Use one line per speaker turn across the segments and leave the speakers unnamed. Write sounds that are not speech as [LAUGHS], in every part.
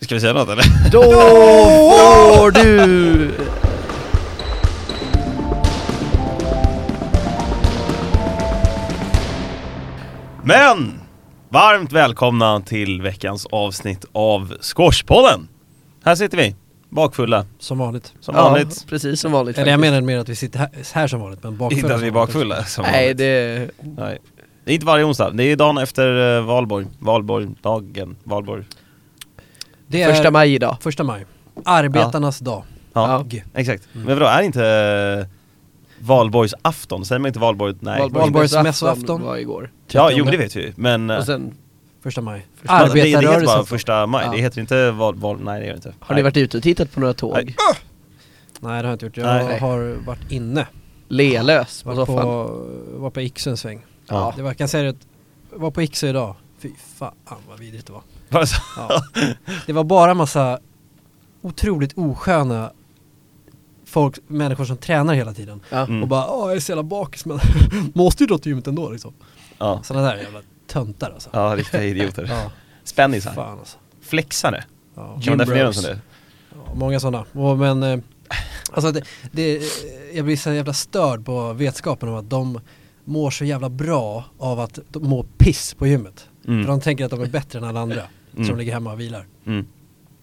Ska vi säga något eller? [LAUGHS]
Då får du...
Men! Varmt välkomna till veckans avsnitt av Squashpodden! Här sitter vi, bakfulla,
Som vanligt.
som vanligt.
precis som vanligt
Eller jag
faktiskt.
menar mer att vi sitter här, här som vanligt, men bakfulla.
Inte att vi är
som vanligt.
bakfulla. Som
Nej,
vanligt.
det...
Nej. Det är inte varje onsdag, det är dagen efter eh, valborg. Valborg-dagen. Valborg.
Det är
Första maj idag.
Första maj. Arbetarnas dag.
Ja,
G.
exakt. Men vadå, är inte eh, valborgsafton? Säger man inte valborg? Nej.
Valborgs-
Valborgsmässoafton.
var igår.
Ja, jo men det vet vi ju. Men... eh,
Och sen,
Första maj.
alltså, det, det heter bara
Arbetarrörelsen.
första maj,
Ja.
det heter inte val... val nej det gör det inte.
har ni
Nej.
varit ute och tittat på några tåg?
Nej. [LAUGHS]
Nej det har jag inte gjort. Jag
Nej.
har varit inne.
Lelös på
Var på,
soffan.
var på Ixö en sväng.
Ja.
Det var, jag kan säga det att, var på Ixö idag. Fy fan vad vidrigt det var.
Alltså,
Ja. det var bara massa otroligt osköna folk, människor som tränar hela tiden.
Ja.
Mm.
Och bara, åh jag är så jävla bakis men [LAUGHS] måste ju dra till gymmet ändå liksom.
[LAUGHS] ja.
Sådana där jävla töntar alltså.
ja, riktiga idioter.
Ja,
Spännisar.
fan alltså.
Flexare.
Ja.
Kan man
Gym
definiera dem
bros.
som det?
Ja, många sådana. Och, men, eh, alltså det, det, eh, jag blir så jävla störd på vetskapen om att de mår så jävla bra av att de mår piss på gymmet.
Mm.
För de tänker att de är bättre än alla andra
Mm.
som ligger hemma och vilar.
Mm.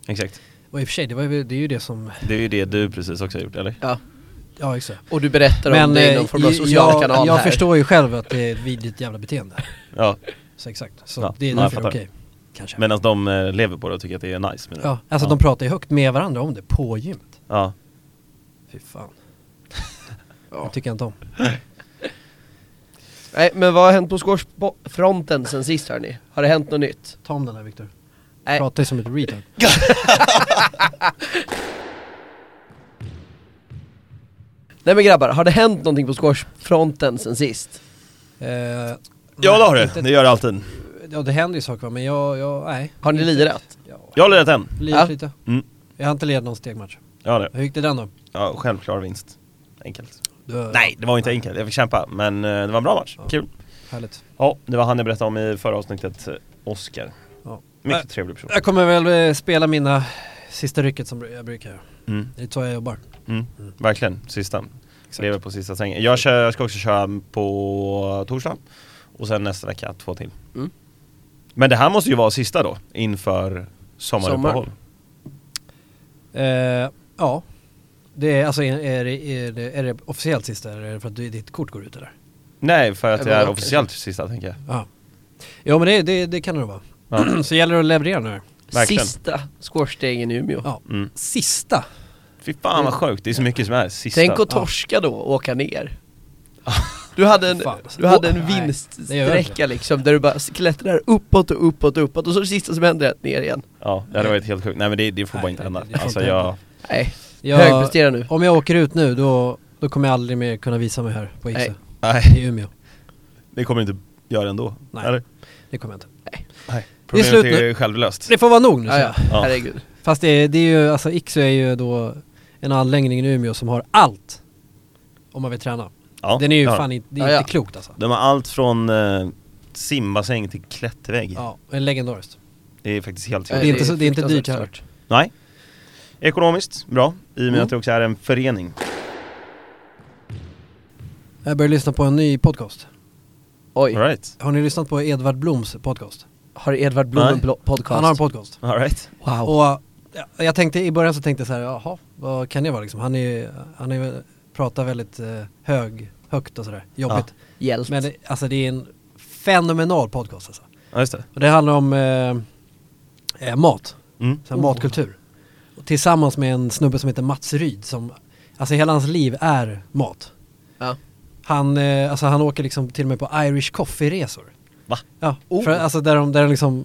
Exakt.
Och i och för sig, det, var, ju- det är ju det som,
Det är ju det du precis också har gjort, eller?
Ja.
ja exakt.
Och du berättar om det i någon form av
eh,
social
jag,
kanal
jag
här.
förstår ju själv att det är ett vidrigt jävla beteende.
Ja.
Så exakt, så
Ja,
det är
ja, jag
därför det är
fattar.
okej. Kanske.
Medan de eh, lever på det och tycker att det är nice med det.
ja, alltså de pratar ju högt med varandra om det på gymmet.
Ja.
Fy [LAUGHS] fan. Det tycker jag inte om.
Nej, men vad har hänt på squashfronten sen sist hörni? Har det hänt något nytt?
Ta om den här Viktor.
Nej.
Prata ju som ett
[LAUGHS]
retard.
Nej men grabbar, har det hänt någonting på squashfronten sen sist?
Eh,
Ja
nej,
det har det,
inte-
det gör det alltid.
Ja det händer ju saker va, men jag, jag nej.
Har ni lirat?
Ja,
Jag har lirat en.
lirat
Ja.
lite.
Mm.
Jag har inte lirat någon stegmatch.
Ja, det.
Hur gick det den då?
ja, självklar vinst. Enkelt.
Du,
Nej, det var inte enkelt. Jag fick kämpa, men eh, det var en bra match.
Ja.
Kul.
Härligt.
Ja, det var han jag berättade om i förra avsnittet, eh, Oscar.
Ja.
Mycket
Nej.
trevlig person.
Jag kommer väl eh, spela mina sista rycket som jag brukar göra.
Mm,
Det är så jag jobbar.
mm,
Mm.
verkligen. Sista.
Exakt.
Lever på sista svängen. Jag, kör, jag ska också köra på torsdag och sen nästa vecka två till.
Mm.
Men det här måste ju vara sista då, inför sommaruppehåll.
Eh, ja. Det är, alltså, är, är, det, är, det, är det officiellt sista eller är det för att du, ditt kort går ut eller?
Nej, för att
Ja,
det
men
är
okej.
officiellt sista tänker jag.
Ja. Jo men det, det, det kan det nog vara.
Ja.
[CLEARS THROAT] så gäller det att leverera nu.
Verkligen.
Sista squashdagen i Umeå.
Ja.
Mm.
Sista!
Fy fan
Mm.
vad sjukt, det är så mycket som är sista.
Tänk att torska då och åka ner. Du hade en,
Fan. alltså.
du hade en
Nej, det gör
vinststräcka liksom där du bara klättrar uppåt och uppåt och uppåt och så det sista som händer är att ner igen.
Ja, det hade varit helt sjukt. Nej men det, det får
Nej,
bara inte hända.
det får
Alltså
inte
jag,
hända.
Nej,
Jag-
högprestera nu.
Om jag åker ut nu då, då kommer jag aldrig mer kunna visa mig här på Ixö.
nej
I Umeå.
det kommer inte göra ändå.
Nej.
Eller?
Det kommer jag inte.
Nej.
Det är
Problemet
slut
är,
nu.
självlöst.
Det får vara nog nu
Ja,
säger
ja.
jag.
Ja.
Herregud.
Fast det, är- det är ju, alltså Ixö är ju då en anläggning i Umeå som har allt. Om man vill träna.
Ja,
Den är ju
det har
fan inte, det är
Ja, ja.
inte klokt alltså.
de. De har allt från eh, simbassäng till klättervägg.
Ja, det är legendariskt.
Det är faktiskt helt
Det
Nej,
är
sjukt.
inte så- det är inte dyrt
fruktansvärt
heller.
Nej. Ekonomiskt bra, i och med
Mm.
att det också är en förening.
Jag börjar lyssna på en ny podcast.
Oj,
Alright.
Har ni lyssnat på Edvard Bloms podcast?
har Edvard Blom en
Nej.
blo- podcast?
Han har en podcast.
Alright.
Wow.
Och ja, jag tänkte, i början så tänkte jag så här, jaha, vad kan det vara liksom? Han är ju- han är, väl- pratar väldigt eh, hög, högt och sådär, jobbigt.
Hjälpt.
Men det, alltså det är en fenomenal podcast alltså.
Ja just det.
Och det handlar om eh, eh, mat,
Mm.
så här matkultur. Och tillsammans med en snubbe som heter Mats Ryd som, alltså hela hans liv är mat.
Ja.
Han, eh, alltså han åker liksom till och med på Irish coffee-resor.
Va?
Ja,
Oh.
för, alltså där de, där de liksom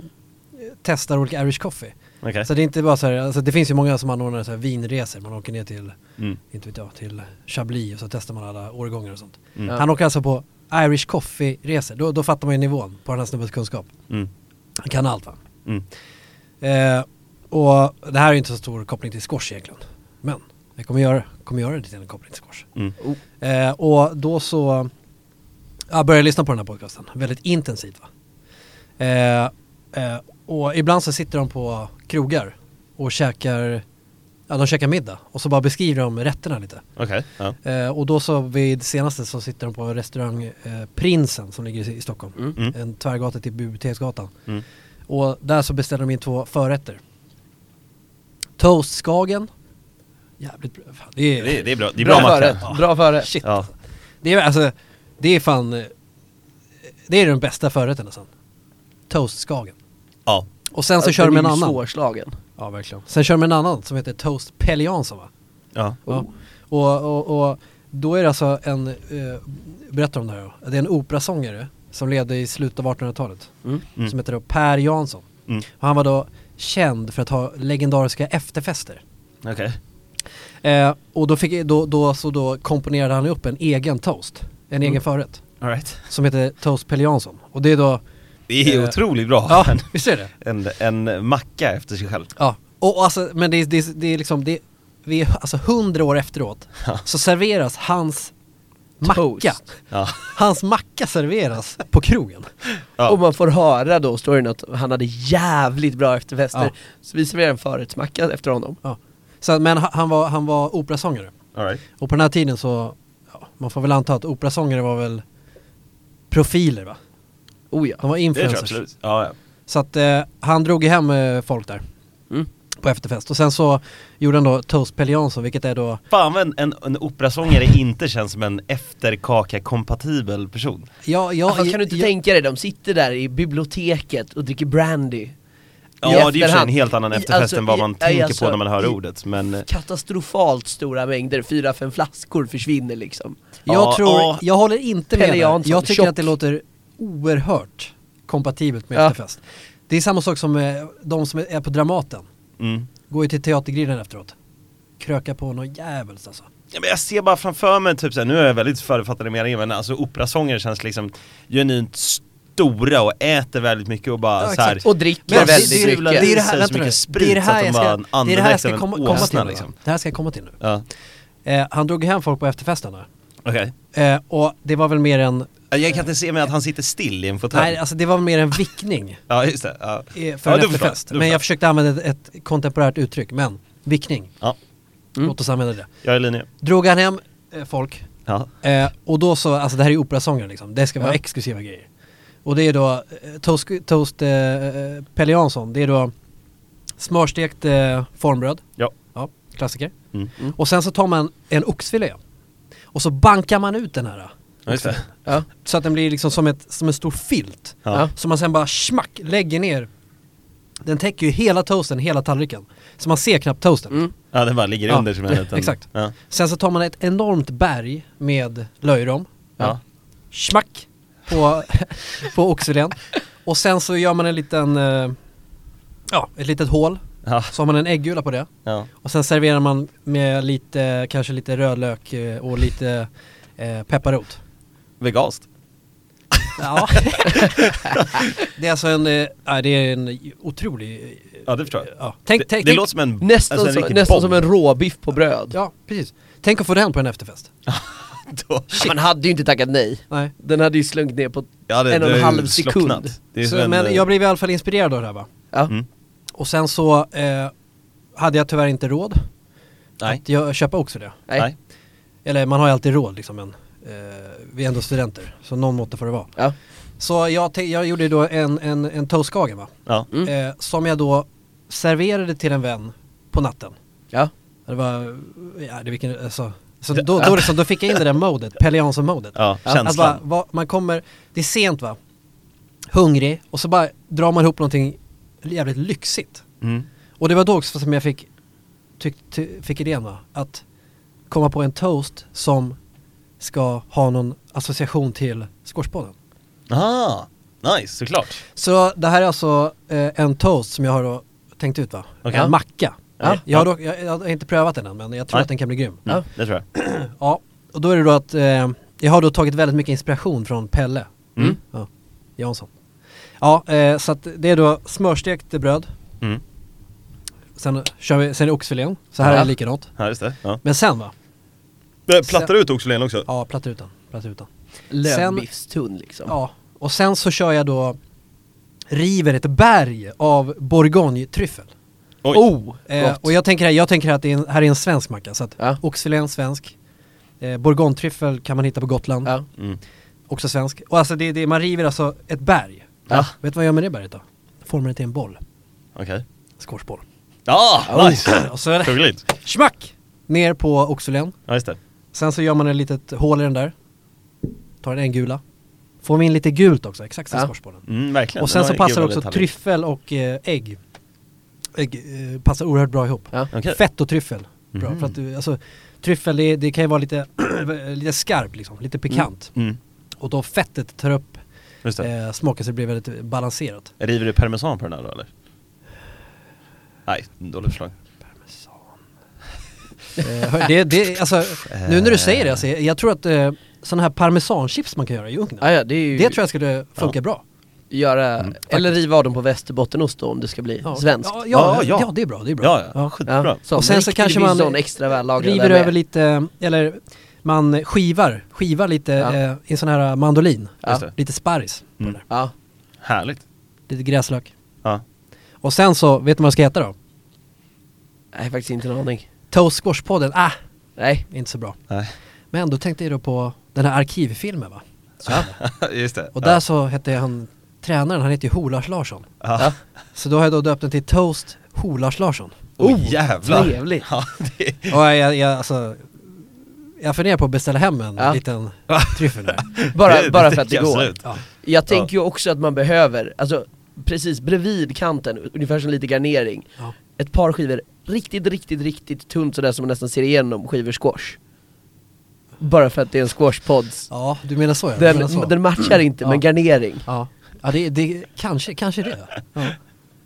eh, testar olika Irish coffee.
Okej.
Så det är inte bara så här, alltså det finns ju många som anordnar så här vinresor, man åker ner till,
Mm.
inte vet jag, till Chablis och så testar man alla årgångar och sånt.
Mm.
Ja.
Han åker alltså på Irish coffee-resor, då, då fattar man ju nivån på den här snubbens kunskap.
Mm.
Han kan allt va?
Mm.
Eh, och det här är ju inte så stor koppling till squash egentligen. Men jag kommer göra, kommer göra det till en koppling till squash.
Mm.
Oh.
Eh, och då så ja, började jag lyssna på den här podcasten väldigt intensivt. Va? Eh, eh, och ibland så sitter de på krogar och käkar, ja de käkar middag och så bara beskriver de rätterna lite.
Okej, ja.
Eh, och då så vid senaste så sitter de på en restaurang, eh, Prinsen som ligger i i Stockholm.
Mm.
Mm.
En tvärgata till Biblioteksgatan.
Mm.
Och där så beställer de in två förrätter. Toast Skagen. Jävligt bra. Fan, det är,
Det, är- det är bra, det är
bra
bra,
förrätt,
matcher.
bra förrätt.
Shit.
Ja.
Det är, alltså, det är fan, eh, det är den bästa förrätten nästan. Toast Skagen.
ja.
Och sen så
Alltså,
kör de
den
en
är ju
annan.
Svårslagen.
Ja verkligen. Sen kör de en annan som heter Toast Peliansa va?
Ja.
Ja.
Oh.
Och, och, och då är det alltså en, eh, berättar om det här då. Det är en operasångare som levde i slutet av 1800-talet.
Mm.
Mm.
Som heter då Per Jansson.
Mm.
Och han var då känd för att ha legendariska efterfester.
Okej.
Eh, och då, fick, då, då, så då komponerade han upp en egen toast. En
Mm.
egen förrätt.
All right.
Som heter Toast Per Jansson. Och det är då,
Det är
Eh,
otroligt bra.
ja visst är det?
En, en macka efter sig själv.
Ja, och och alltså, men det, är- det, är- det är liksom, det, är- vi är alltså hundra år efteråt
Ja.
så serveras hans macka.
Toast.
Ja.
Hans macka serveras på krogen.
Ja.
Och man får höra då storyn att han hade jävligt bra efterfester.
Ja.
Så vi serverar en förrättsmacka efter honom.
Ja. Så, men ha- han var, han var operasångare.
All right.
Och på den här tiden så, ja, man får väl anta att operasångare var väl profiler va?
Oh ja.
De var
Det tror jag
influencers.
absolut. Ja, ja.
så att eh, han drog ju hem eh, folk där
Mm.
på efterfest. Och sen så gjorde han då Toast Peliansson, vilket är då,
Fan vad en, en, en operasångare inte känns som en efterkaka-kompatibel person.
ja, ja,
Ja, fast Alltså, kan du inte
ja,
tänka dig, de sitter där i biblioteket och dricker brandy.
Ja,
I
det är ju för sig en
efterhand.
helt annan
I-
efterfest
alltså,
än vad man
i-
tänker
alltså,
på när man hör
i-
ordet. Men eh,
Katastrofalt stora mängder, fyra, fem flaskor försvinner liksom.
Jag
Ja,
tror,
ja.
jag håller inte med
Pelle
dig.
Jansson,
Jag tycker
tjock.
att det låter oerhört kompatibelt med
Ja.
efterfest. Det är samma sak som eh, de som är på Dramaten.
mm.
Går ju till Teatergrillen efteråt. Kröka på något jävligt alltså.
Ja, men jag ser bara framför mig, typ såhär, nu är jag väldigt förutfattad i meningen men alltså operasångare känns liksom genuint stora och äter väldigt mycket och bara
Ja,
så
exakt.
såhär
Och dricker
Men
väldigt
det är väl-
mycket.
det är sig så mycket sprit
det är det här
så att
jag
de
ska,
bara
det är det här jag ska
andedräkten
komma,
en
komma
åsna,
till nu.
liksom.
Liksom. Det här ska jag komma till nu.
Ja,
Eh, han drog ju hem folk på efterfesten där.
okej
Eh, och det var väl mer en,
Jag kan inte se mig att han sitter still i en fåtölj
nej alltså det var väl mer en vickning
Ja just det, ja.
eh,
Ja,
för en
du förstår.
efterfest.
Du
Men
förstår.
jag försökte använda ett, ett kontemporärt uttryck, men vickning.
ja,
Mm.
Låt oss använda det.
jag är i linje
Drog han hem eh, folk
Ja,
Eh, och då så, alltså det här är ju operasångare liksom, det ska vara
Ja.
exklusiva grejer. Och det är då, eh, Toast, toast eh, eh, Pelle Jansson, det är då smörstekt eh, formbröd,
ja,
ja, klassiker.
mm.
Och sen så tar man en oxfilé och så bankar man ut den här. eh,
ja just det
Ja.
Så att den blir liksom som, ett, som en stor filt.
Ja.
Ja.
Som man sen bara smack lägger ner. Den täcker ju hela toasten, hela tallriken. Så man ser knappt toasten.
Mm.
ja, den bara ligger
Ja,
under som en liten
[LAUGHS] exakt.
ja.
Sen så tar man ett enormt berg med löjrom.
Ja.
smack på, [LAUGHS] på oxfilén. Och sen så gör man en liten, eh, ja, ett litet hål.
Ja.
Så har man en äggula på det.
ja,
Och sen serverar man med lite, kanske lite rödlök eh, och lite eh, pepparrot.
veganskt
Ja. [LAUGHS] det är alltså en, eh, ja, det är en otrolig, eh,
Ja det förstår jag
ja. Tänk,
det,
tänk,
det
tänk,
låter som en,
Nästan,
alltså en
som,
riktig
nästan
bomb.
som en råbiff på bröd.
ja precis. Tänk att få den på en efterfest.
[LAUGHS] Då-
Ja, Man hade ju inte tackat nej.
Nej.
Den hade ju slunkt ner på...
Ja, det,
En och en
det är
halv
ju
sekund.
slocknat. Det är som
Så,
en,
men
eh,
jag blev i alla fall inspirerad av det här va.
Ja.
mm.
Och sen så eh, hade jag tyvärr inte råd
Nej,
att jag, köpa oxfilé.
Nej.
nej,
Eller man har ju alltid råd liksom men eh, vi är ändå studenter så någon måtta får det vara.
Ja.
Så jag, te- jag gjorde då en, en, en toastkagen va.
ja,
Mm.
Eh, som jag då serverade till en vän på natten.
Ja.
Det var, ja det vilken, alltså. Så då, då, liksom, då fick jag in det där modet, Pelianson-modet.
ja,
Att
känslan
bara, va, man kommer, det är sent va, hungrig och så bara drar man ihop någonting jävligt lyxigt.
mm.
Och det var då också som jag fick, tyck, ty, fick idén va, att komma på en toast som ska ha någon association till Squashpodden.
Ah, nice, såklart.
Så det här är alltså eh, en toast som jag har då tänkt ut va?
Okej.
En macka.
Ja.
Jag, har dock, jag, jag har inte prövat den än men jag tror
Nej.
att den kan bli grym.
Mm,
Ja.
Det tror jag.
Ja, och då är det då att eh, jag har då tagit väldigt mycket inspiration från Pelle
Mm.
ja, Jansson. Ja, eh, så att det är då smörstekt bröd,
Mm.
sen, kör vi, sen är oxfilén, så här
Ja.
är det likadant.
Ja, just det. Ja.
Men sen va?
Det plattar ut oxfilén också?
Ja, plattutan. plattutan.
Lövbiffstunn liksom.
Ja, och sen så kör jag då river ett berg av bourgogne-tryffel.
Oj.
Oh!
Eh,
Gott.
och jag tänker, här- jag tänker att det är en, här är en svensk macka, så att
Ja.
oxfilé är en svensk. Eh, Bourgogne-tryffel kan man hitta på Gotland,
Ja.
Mm.
också svensk. Och alltså det, det, man river alltså ett berg.
Ja.
Vet du vad jag gör med det berget då? Formar det till en boll.
Okej.
Squashboll. oh.
Ah, nice!
[CLEARS THROAT] Och så är det
Kungligt.
smack! Ner på oxfilén.
Ja, just det.
Sen så gör man ett litet hål i den där. Tar en gula. Får vi in lite gult också, exakt som
Ja.
squashbollen.
Mm, verkligen.
Och sen
Den
så
har
passar
gula
också
detaljer.
tryffel och eh, ägg. Ägg eh, passar oerhört bra ihop.
Ja.
Okej.
Fett och tryffel. Bra,
Mhm.
för att du, alltså, tryffel det, det kan ju vara lite, [CLEARS THROAT] lite skarp liksom, lite pikant.
Mm,
Och då fettet tar upp
just det.
eh, smaken så det blir väldigt balanserat.
River du parmesan på den här då eller? Nej, dåligt förslag.
Eh, hör- det, det, alltså, nu
Eh.
när du säger det, alltså, jag jag tror att eh, sådana här parmesanchips man kan göra i ugnen,
Ah, ja, det är ju
det tror jag skulle funka bra.
göra, eller riva av dem på västerbottenost då om det ska bli
Ja.
svenskt.
Mm, Ja, ja,
Ja,
ja.
ja.
det är bra, det är bra.
Ja, ja, skitbra.
Så,
Och sen så kanske man
sån extra vällagrad där
River
med.
över lite, eller man skivar, skivar lite
Ja.
eh, i en sån här mandolin.
Just det.
Lite sparris på
Mm.
det där.
Ja,
Härligt.
Lite gräslök.
Ja.
Och sen så, vet du vad det ska heta då?
nej faktiskt inte en aning.
Toast Squash-podden, ah,
Nej.
inte så bra.
Nej.
Men då tänkte jag då på den här arkivfilmen va?
[LAUGHS] just det.
Och
ja.
där så hette han, tränaren, han hette ju Ho-Lars Larsson.
Ja.
Så då har jag då döpt den till Toast Ho-Lars Larsson.
Oh, jävlar!
trevligt.
Ja, det är...
Och jag, jag, alltså, jag funderar på att beställa hem en
Ja.
liten
[LAUGHS]
tryffel där.
[LAUGHS] Bara, bara för att det går.
Absolut.
Ja.
Jag tänker ju också att man behöver, alltså precis bredvid kanten, ungefär som lite garnering,
Ja.
ett par skivor riktigt, riktigt, riktigt tunt sådär som man nästan ser igenom skivor squash. Bara för att det är en squashpods.
ja, du menar så ja. du menar
Den,
så.
den matchar inte,
Ja.
men garnering.
Ja, ja det, det, kanske, kanske det. Ja.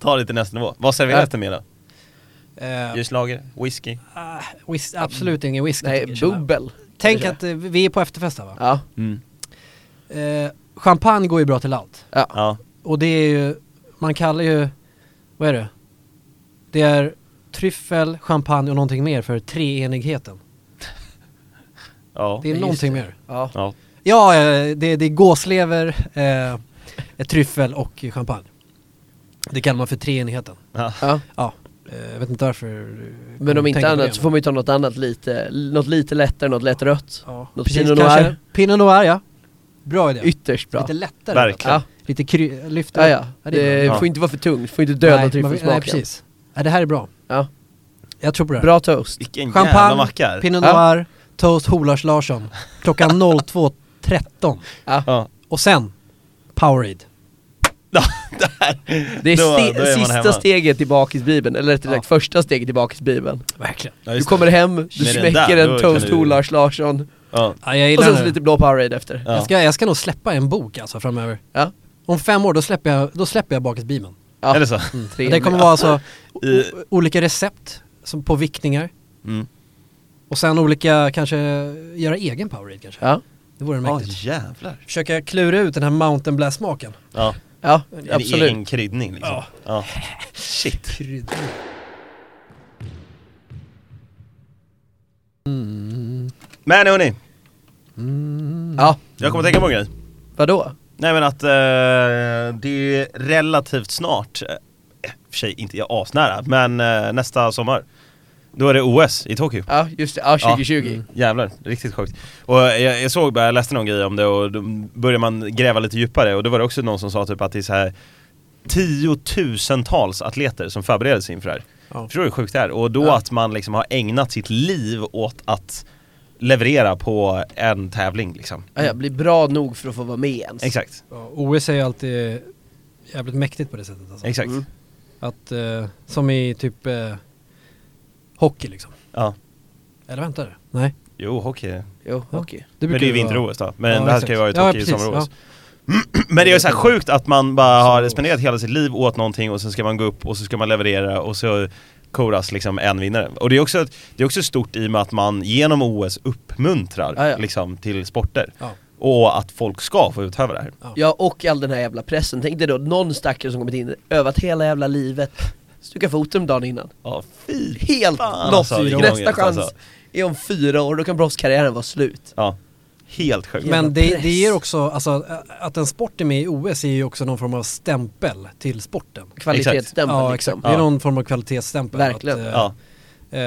Ta det till nästa nivå. Vad serveras det med då?
Eh,
Just lager? Whisky?
ah, whis- absolut ingen whisky.
Nej,
tycker jag, känner jag.
bubbel.
Tänk
kanske.
att eh, vi är på efterfest här va?
Ja,
Mm.
Eh, champagne går ju bra till allt.
ja.
Ja.
Och det är ju, man kallar ju, vad är det? Det är tryffel, champagne och någonting mer för treenigheten.
Ja.
Det är
Ja, just
någonting
det.
mer.
ja.
Ja.
Ja, eh, det, det är gåslever, eh, ett tryffel och champagne. Det kallar man för treenigheten.
ja.
ja.
Ja, eh, jag vet inte varför. eh,
Men om
jag
inte
tänker på
annat
det,
så
men-
får man ju ta något annat lite, något lite lättare, något lätt rött.
Ja,
Något
precis,
Pinot
kanske.
Noir.
Pinot Noir ja. Bra idé.
Ytterst bra.
Lite lättare.
Verkligen.
Ja,
Lite kry-
ja,
lyfta
ja.
det är
Det
bra.
Ja.
får inte vara för tungt, får inte
Nej,
döda
man- Nej,
tryffelsmaken.
precis. Nej, det här är bra.
Ja.
Jag tror på det här.
Bra toast.
Vilken jävla
Champagne,
macka! här.
Pinot
Ja.
Noir, toast Holars Larsson. Klockan 02.13.
Ja. [LAUGHS]
Och sen Powerade.
Där!
Det är,
Då-
ste-
då är man
sista
hemma.
steget i bakisbibeln, eller rättare
Ja.
sagt första steget i bakisbibeln.
Verkligen.
Ja,
Du
just
kommer
det.
hem, du
den
smäcker
där, då
en
kan
toast
du-
Lars Larsson,
Ja.
Ja, jag
och
gillar
sen så
det.
lite blå Powerade efter.
Ja.
Jag, ska, jag ska nog släppa en bok alltså framöver.
Ja.
Om fem år, då släpper jag, då släpper jag bakisbimen.
Ja. Mm.
Är det så?
Trevligt.
Det kommer vara alltså o-
I-
o- olika recept som på vickningar.
Mm.
Och sen olika, kanske göra egen Powerade kanske.
Ja,
Det vore
Ja,
mäktigt.
jävlar.
Försöka klura ut den här Mountain Blast smaken.
Ja.
ja
En
absolut.
egen kryddning liksom.
Ja.
Ja. [LAUGHS] Shit. Men hörni,
Mm.
Ja,
jag kommer att tänka på en grej.
vadå?
Nej men att eh, det är relativt snart, eh, i och för sig inte jag asnära, men eh, nästa sommar. Då är det OS i Tokyo.
Ja, just det. Ja, 2020.
Ja, Mm. jävlar, riktigt sjukt. Och jag, jag såg bara, jag läste någon grej om det och då började man gräva lite djupare och då var det också någon som sa typ att det är så här tiotusentals atleter som förbereder sig inför det här.
Ja.
Förstår du hur sjukt det är? Och då
Ja.
att man liksom har ägnat sitt liv åt att leverera på en tävling liksom.
Ja, jag blir bra nog för att få vara med ens.
Exakt,
Ja, OS är ju alltid jävligt mäktigt på det sättet alltså.
exakt.
Mm.
Att, eh, som i typ eh, hockey liksom.
Ja.
Eller vänta det. Nej.
Jo, hockey.
Jo, okej.
Det
Men det är ju
brukar vara-
vinter-OS då, men
Ja,
det här ska
exakt.
ju vara ett
Ja,
hockey i
precis,
sommar-OS Men det är ju så här sjukt att man bara har spenderat hela sitt liv åt någonting och sen ska man gå upp och så ska man leverera och så koras liksom en vinnare Och det är också, det är också stort i och med att man genom OS uppmuntrar
Ja, ja.
Liksom, till sporter
Ja.
Och att folk ska få utöva det här
Ja och all den här jävla pressen, tänk dig då någon stackare som kommit in, övat hela jävla livet, stukat foten dagen innan.
Ja, fy
Helt
fan
loss!
alltså, vilken
Nästa
ångest,
chans
alltså.
är om fyra år, då kan brottskarriären vara slut.
Ja, Helt sjukt.
Men
Jävla
det,
press.
det ger också, alltså ä- att en sport är med i OS är ju också någon form av stämpel till sporten.
Kvalitetsstämpeln
ja,
liksom.
exakt. Det är
Ja.
någon form av kvalitetsstämpel.
Verkligen.
Att, eh,
Ja,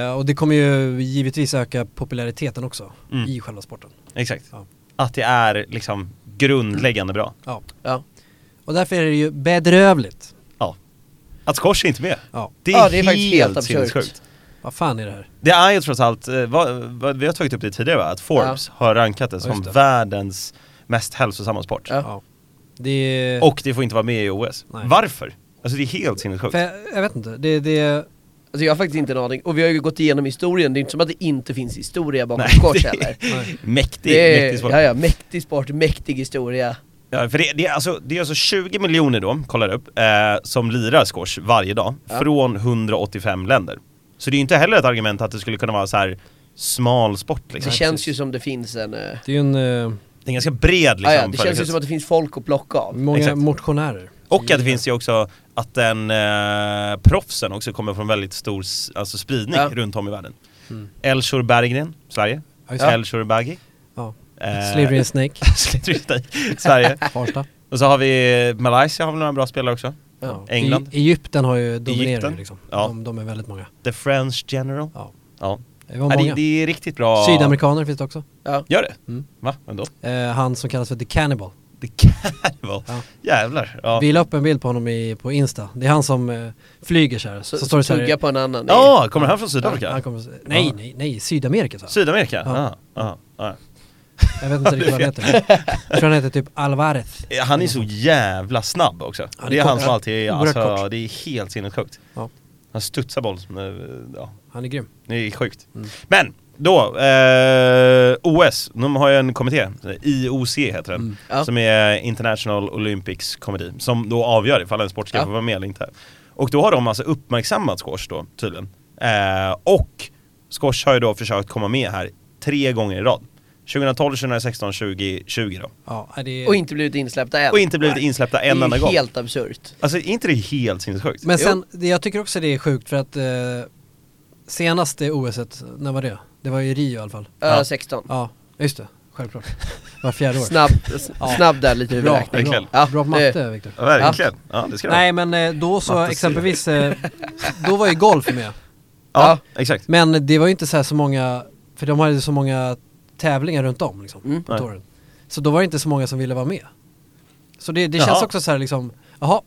eh, Och det kommer ju givetvis öka populariteten också
Mm.
i själva sporten.
exakt.
Ja.
Att det är liksom grundläggande bra.
Ja.
Ja.
Och därför är det ju bedrövligt.
Ja. Att squash är inte med.
Ja.
Det är,
Ja, det är faktiskt helt
helt
absurt.
sinnessjukt.
Vad fan är det här?
Det är ju trots allt, eh, vad, vad, vi har tagit upp det tidigare va? Att Forbes har rankat det
Ja,
som
just det.
världens mest hälsosamma sport.
Ja.
Det är...
Och det får inte vara med i OS.
Nej.
Varför? Alltså det är helt sinnessjukt.
För jag, jag vet inte, det, det,
Alltså jag har faktiskt inte en aning, och vi har ju gått igenom historien, det är inte som att det inte finns historia bakom
Nej, [LAUGHS]
squash
det-
heller
nej.
Mäktig,
Det
mäktig
är,
sport.
ja, ja, mäktig sport, mäktig historia
Ja, för det, det, är alltså, det är alltså 20 miljoner då, kollar jag upp, eh, som lirar squash varje dag
Ja.
från 185 länder. Så det är ju inte heller ett argument att det skulle kunna vara så här smal sport
Det
liksom.
känns
precis.
ju som det finns en... eh,
det är ju en, eh,
Det är ganska bred liksom.
ah, ja, det känns ju
företeelse.
som att det finns folk att plocka av
många
Exakt.
motionärer.
Och att det finns ju också att den eh, proffsen också kommer från väldigt stor s- alltså spridning
Ja.
runt om i världen.
Mm.
Elshor Berggren, Sverige.
Ja, just det.
Elshor Baggi. [LAUGHS]
Ja.
Eh,
Slavery and Snake,
Slytherin Snake, Sverige. [LAUGHS]
Farsta.
Och så har vi eh, Malaysia har väl några bra spelare också.
ja.
England.
E- Egypten har ju dominerat
Egypten.
ju liksom.
Ja.
De, de är väldigt många.
The French General.
Ja.
Ja.
Det var
Ja,
många.
det, det är riktigt bra.
Sydamerikaner finns det också.
ja.
Gör det?
Mm.
Va? Ändå?
Eh, han som kallas för The Cannibal.
Det kan det vara.
Ja.
Jävlar. Ja,
Vi la upp en bild på honom i, på Insta. Det är han som eh, flyger så här. Så,
Så,
står det så här.
tugga på en annan det är-
ja kommer han från Sydamerika?
Han kommer, nej, nej, nej, Sydamerika sa han.
Sydamerika?
Ja.
Ja. Ja. Ja.
Jag vet inte riktigt vad han heter. Jag tror han heter typ Alvarez.
Eh, Han är så jävla snabb också.
Mm. Ja, det är
det, är han
kort.
som alltid är,
Oerhört
alltså,
kort.
det är helt sinnessjukt.
Ja.
Han studsar boll som, eh, ja,
Han är grym.
det är sjukt.
Mm.
Men, då, eh, OS, de har ju en kommitté, IOC heter den,
Mm.
Ja.
som är International Olympics Committee, som då avgör ifall en sport ska
Ja.
få vara med eller inte. Och då har de alltså uppmärksammat squash då, tydligen. Eh, och squash har ju då försökt komma med här tre gånger i rad. 2012, 2016, 2020 då.
Ja, det är...
Och inte blivit insläppta än
Och inte blivit insläppta en enda
Det är
gång.
ju helt absurt
Alltså är inte det helt sinnessjukt?
Men sen, det, jag tycker också det är sjukt för att eh, senaste OSet, när var det? Det var i Rio i alla fall.
Ja,
Ja.
16
Ja, just det. Självklart. Var fjärde år.
Snabb, s-
Ja.
snabb där lite
bra,
huvudräkning
verkligen.
bra.
Ja, eh,
bra på
det-
matte Viktor.
Ja, verkligen. Ja, det ska det vara.
Nej men eh, då så
Matte
exempelvis, eh, då var ju golf med.
Ja, exakt.
Men det var ju inte så, här så många, för de hade ju så många tävlingar runt om liksom,
Mm.
på
Nej.
touren. Så då var det inte så många som ville vara med. Så det, det
Jaha.
känns också så här liksom, jaha,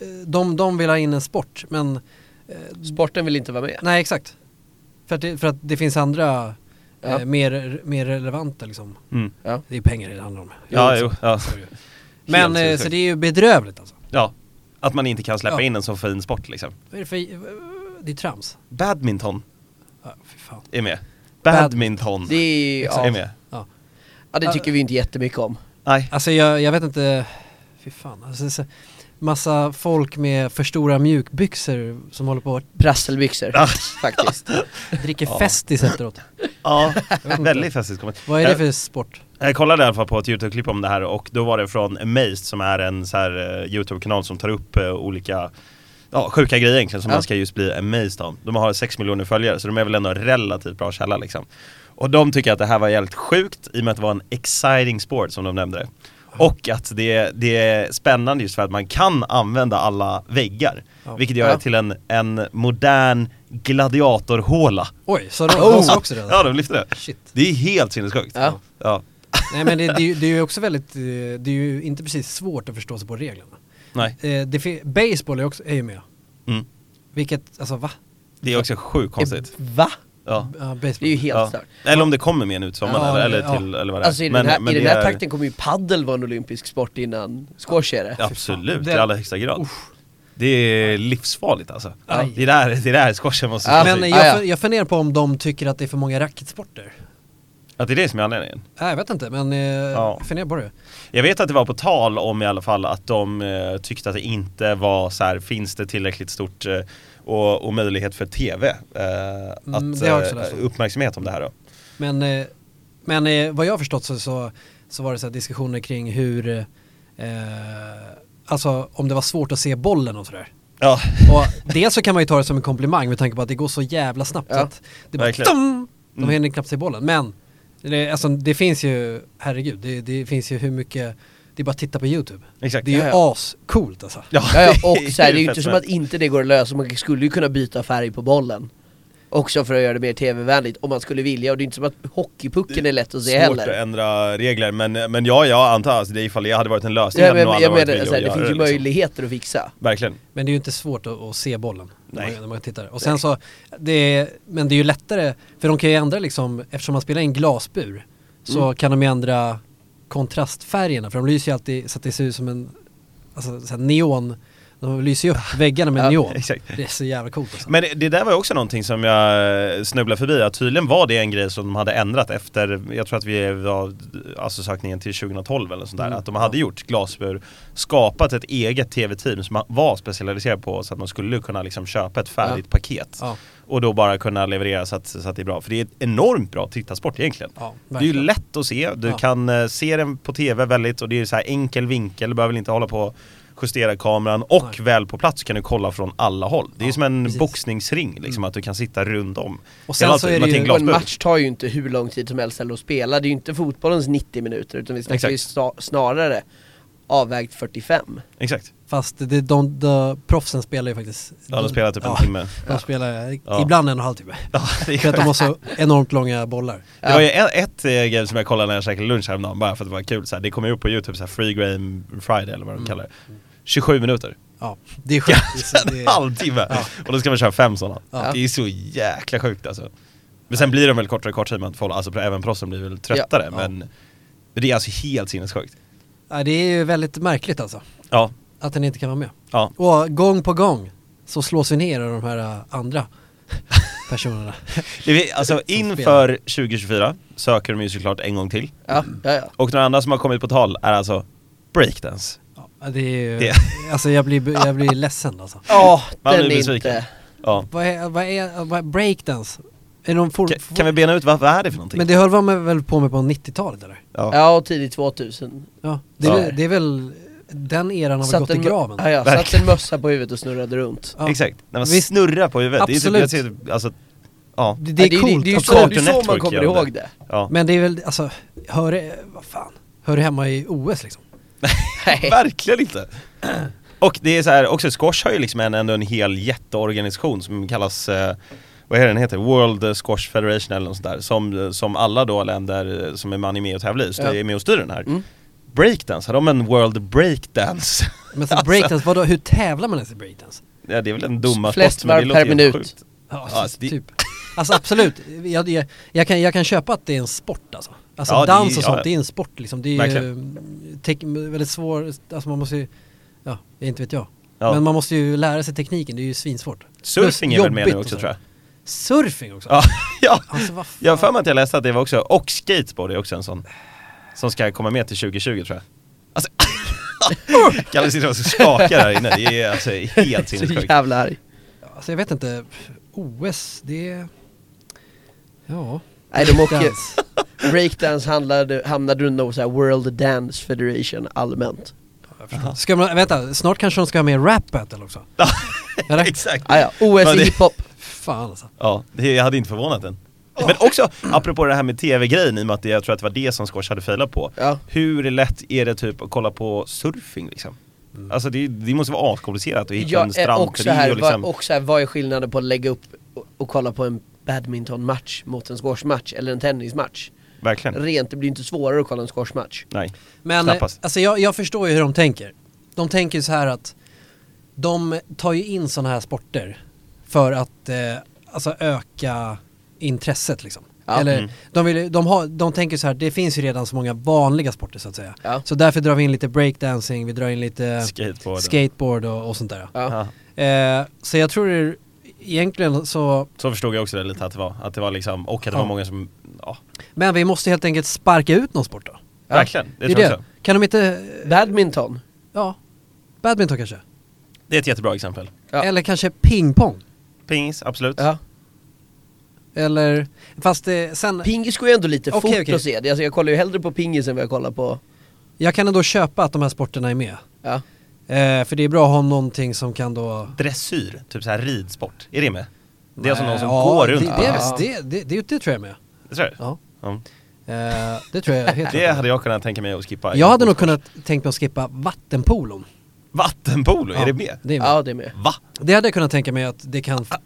eh, de, de vill ha in en sport men
Sporten vill inte vara med
nej exakt. För att det, för att det finns andra
Ja.
eh, mer, mer relevanta liksom.
Mm.
Det är pengar det handlar om.
Ja,
Jo,
jo. Ja.
så är det ju. Men eh,
sinnessjukt.
så det är ju bedrövligt alltså.
ja, att man inte kan släppa
Ja.
in en så fin sport liksom.
Vad är det för, det är trams.
Badminton
Ja, fy fan.
är med. Badminton
Det är,
är
ja,
med.
ja, det tycker vi inte jättemycket om
Nej.
Alltså jag, jag vet inte, fy fan. Alltså, det är så- massa folk med för stora mjukbyxor som håller på att
Prasselbyxor,
[LAUGHS] Ja.
faktiskt
dricker
Ja.
Festis efteråt.
Ja,
vet inte.
väldigt festligt kommentar.
Vad är det för sport?
Jag kollade Eh, i alla fall på ett YouTube-klipp om det här och då var det från Amazed som är en så här eh, YouTube-kanal som tar upp eh, olika Ja, sjuka grejer egentligen som
Ja.
man ska just bli amazed av. De har 6 miljoner följare så de är väl ändå en relativt bra källa liksom. Och de tycker att det här var jävligt sjukt i och med att det var en exciting sport som de nämnde det. Och att det, det är spännande just för att man kan använda alla väggar.
Ja.
Vilket gör
Ja.
det till en, en modern gladiatorhåla.
Oj, så de oh. också det?
Ja, de lyfter det.
Shit.
Det är helt sinnessjukt.
Ja.
ja.
Nej men det, det, är ju- det är ju också väldigt, eh, det är ju inte precis svårt att förstå sig på reglerna.
Nej.
Eh, det, fin- baseball är, också, är ju med.
Mm.
Vilket, alltså va?
Det är också sjukt konstigt.
Va?
Ja.
Ja,
Det är ju
baseball.
helt
ja.
stört
Eller om det kommer med nu till sommaren
Ja,
eller,
ja.
eller till, eller vad det är.
Alltså i den här, i
det
den här
är-
takten kommer ju paddel vara en olympisk sport innan squash är det
Absolut,
Det-
i allra högsta grad. Det är livsfarligt alltså.
Aj.
Det är där, det är där squashen måste
Ja.
slå
Men
sig.
eh,
Ah, ja.
jag, fun- jag funderar på om de tycker att det är för många racketsporter.
Att det är det som är anledningen.
Nej, jag vet inte men eh,
Ja.
jag funderar på det.
Jag vet att det var på tal om i alla fall att de eh, tyckte att det inte var så här, finns det tillräckligt stort eh, och, och möjlighet för TV eh,
Mm,
att
det har jag också läst
eh,
om.
uppmärksamhet om det här då.
Men, eh, men eh, vad jag har förstått så, så, så var det så här diskussioner kring hur, eh, alltså om det var svårt att se bollen och sådär.
Ja, [LAUGHS]
Och dels så kan man ju ta det som en komplimang med tanke på att det går så jävla snabbt.
Ja,
så att det bara,
verkligen.
dum, de
Mm.
hinner knappt se bollen. Men Det, alltså, det finns ju, herregud, det, det finns ju hur mycket, det är bara att titta på YouTube.
Exakt.
Det är ju
Ja, ja.
ascoolt alltså.
Ja,
[LAUGHS]
ja, och så här, det är
ju
ju inte
fett
som
fett.
att inte det går att lösa, man skulle ju kunna byta färg på bollen Också för att göra det mer tv-vänligt, om man skulle vilja, och det är inte som att hockeypucken är lätt att se
Svårt att
heller
ändra regler, men, men ja, jag antar alltså, det är ifall jag hade varit en lösning
Ja, men,
hade nog
jag
alla varit
menar,
villiga
så här,
att
det
göra
finns ju
liksom.
möjligheter att fixa
Verkligen.
Men det är ju inte svårt att, att se bollen
Nej.
När, man, när man tittar. Och sen så, det är, men det är ju lättare, för de kan ju ändra liksom, eftersom man spelar i en glasbur så
Mm.
kan de ju ändra kontrastfärgerna för de lyser ju alltid så att det ser ut som en alltså, så här neon, de lyser
[LAUGHS]
ju upp väggarna med
Ja,
neon.
exakt.
Det är så jävla coolt alltså.
Men det, det där var ju också någonting som jag snubblade förbi, att tydligen var det en grej som de hade ändrat efter, jag tror att vi var, alltså sökningen till 2012 eller sånt där,
Mm.
att de hade gjort glasbur, skapat ett eget tv-team som var specialiserat på så att man skulle kunna liksom köpa ett färdigt paket
Ja,
och då bara kunna leverera så att, så att det är bra. För det är ett enormt bra tittarsport egentligen.
ja,
Det är ju
verkligen.
lätt att se, du
Ja.
kan eh, se den på TV väldigt och det är så här enkel vinkel, du behöver inte hålla på och justera kameran och
Nej.
väl på plats kan du kolla från alla håll. Det är
Ja,
som en
precis. Mm.
boxningsring, liksom, att du kan sitta runt om.
Och sen
Hela
så
tiden,
är
men
det
till en
ju,
Och en
glasbur.
match tar ju inte hur lång tid som helst heller att spela, det är ju inte fotbollens 90 minuter utan vi snackar ju sta- snarare avvägt 45
Exakt.
fast det, de, de, proffsen spelar ju faktiskt.
Ja, de spelar typ
Mm. Ja,
en timme.
De spelar
Ja.
ibland en och en halv timme. [LAUGHS]
Ja, det
För att de
är-
har så enormt långa bollar.
det var ju ett, ett eh, grej som jag kollade när jag käkade lunch häromdagen, bara för att det var kul. Så här, det kommer ju upp på YouTube, så här, Free Game Friday eller vad de
Mm.
kallar det. 27 minuter.
Ja, det är sjukt.
[LAUGHS]
Det
en
är-
halvtimme!
Ja.
Och då ska man köra fem sådana.
Ja.
Det är så jäkla sjukt alltså. Men sen blir de väl kortare och kortare i och med att folk, alltså även proffsen blir väl tröttare
Ja.
men det är alltså helt sinnessjukt.
Ja, det är ju väldigt märkligt alltså,
Ja,
att den inte kan vara med.
ja.
Och gång på gång så slås vi ner av de här äh,
[LAUGHS]
andra personerna.
Det vi, alltså
Som
inför 2024 söker de ju såklart en gång till.
Ja, ja, ja.
Och några andra som har kommit på tal är alltså breakdance.
Ja, det är ju,
Det-
alltså jag blir, jag blir ledsen alltså.
Ja,
Man
den
blir
är
besviken.
inte...
Ja.
Vad är, vad är, vad är breakdance? Är de for,
Ka- Kan vi bena ut vad, vad är det för någonting?
Men det höll man väl på med på 90-talet eller?
ja.
Ja, och tidigt 2000
Ja, det är,
Ja.
Väl, det är väl, den eran har väl
Satt
gått i
en mö-
graven?
Ja, ja, satt
Verkligen.
en mössa på huvudet och snurrade runt
Ja.
Exakt, när man
Visst.
snurrar på huvudet. Det är
Absolut.
typ, jag ser, alltså, ja.
Det, det är
ja,
coolt.
det, det, är ju
att-
så, det är
Cartoon
så man
Network
kommer
gör det.
ihåg det
ja.
Men det är väl, alltså, hör det, vad fan, hör det hemma i OS liksom?
Nej.
[LAUGHS] Verkligen inte! Och det är så här, också squash har ju liksom en, ändå en hel jätteorganisation som kallas, eh, vad är den heter? World Squash Federation eller något sånt där, som, som alla då länder eh, som är man är med och tävlar i, så
Ja.
är med och styr den här.
Mm.
Breakdance, har de en World Breakdance?
Men
alltså,
så
Alltså.
breakdance, vadå, hur tävlar man ens i breakdance?
[LAUGHS] ja, det är väl en dumma
Flest
sport, men det
varv
låter
per
helt
minut.
sjukt.
Ja,
Ja,
alltså,
det-
typ. Alltså absolut, jag, jag, jag, kan, jag kan köpa att det är en sport alltså. Alltså
Ja, det-
dans och
ja.
sånt, det är en sport liksom. Det är ju tek, väldigt svår, alltså man måste ju, ja, det inte vet jag.
Ja.
Men man måste ju lära sig tekniken, det är ju svinsvårt.
Surfing är
Plus
väl med
jobbigt
nu
och
också
så.
tror jag.
Surfing också?
Ja, [LAUGHS] ja.
Alltså vad fan.
Jag har för mig att jag läste att det var också, och skateboard är också en sån som ska komma med till 2020 tror jag. Alltså, [LAUGHS] Kalle sitter och skakar här inne, det är alltså helt
Så
sinnessjukt.
jävla arg
Alltså jag vet inte, OS, det är... Ja.
Nej de åker,
Dans.
breakdance handlade, hamnade under så här World Dance Federation allmänt
Ska man, vänta, snart kanske de ska ha med rap battle också? Eller?
Exakt.
ah, ja. OS
Ja,
i
det-
hiphop,
Fan alltså.
Ja, det, jag hade inte förvånat den. Men också, apropå det här med tv-grejen, i och med att det- jag tror att det var det som Squash hade failat på.
Ja.
Hur lätt är det typ att kolla på surfing liksom?
Mm.
Alltså det, det måste vara askomplicerat att hitta
ja,
en
eh, och, så
strandfri
här,
och liksom...
va, och så här, vad är skillnaden på att lägga upp och, och kolla på en badmintonmatch mot en squashmatch eller en tennismatch?
Verkligen.
Rent, det blir inte svårare att kolla en squashmatch
Nej.
Men eh,
Knappast.
alltså jag, jag förstår ju hur de tänker. De tänker ju så här att de tar ju in sådana här sporter för att eh, alltså öka intresset liksom.
Ja.
Eller,
Mm.
de, vill, ju- de, har, de tänker så här, det finns ju redan så många vanliga sporter så att säga.
Ja.
Så därför drar vi in lite breakdancing, vi drar in lite
Skateboard.
skateboard och, och sånt där.
ja.
Ja.
Eh, så jag tror det är, egentligen så,
Så förstod jag också det lite att det var, att det var liksom, och att det var
Ja.
många som, ja,
men vi måste helt enkelt sparka ut någon sport då.
Ja.
verkligen. Det,
är
tror jag också.
Kan de inte,
Badminton
ja, badminton kanske?
Det är ett jättebra exempel.
Ja.
Eller kanske pingpong?
Pingis, absolut.
ja.
Eller, fast det, sen,
Pingis går ju ändå lite
Okej,
fort
okej.
att se, Det- alltså, jag kollar ju hellre på pingis än vad jag kollar på
jag kan ändå köpa att de här sporterna är med.
Ja,
Eh, för det är bra att ha någonting som kan då...
Dressyr, typ så här ridsport. Är det med? Det är alltså någon som
Eh, Ja,
går runt
det,
på
det,
en
är
häst.
väl- det, det, det, det tror jag är med.
Tror du?
Ja.
Ja.
Eh, det tror jag är
[LAUGHS]
helt
Det
rätt.
hade jag kunnat tänka mig att skippa.
Jag hade nog kunnat tänkt mig att skippa vattenpolon.
Vattenpolo,
Ja,
är det med?
Det, är med.
Ja det är med.
Va?
det hade jag kunnat tänka mig att det
[LAUGHS]
kan... Bara,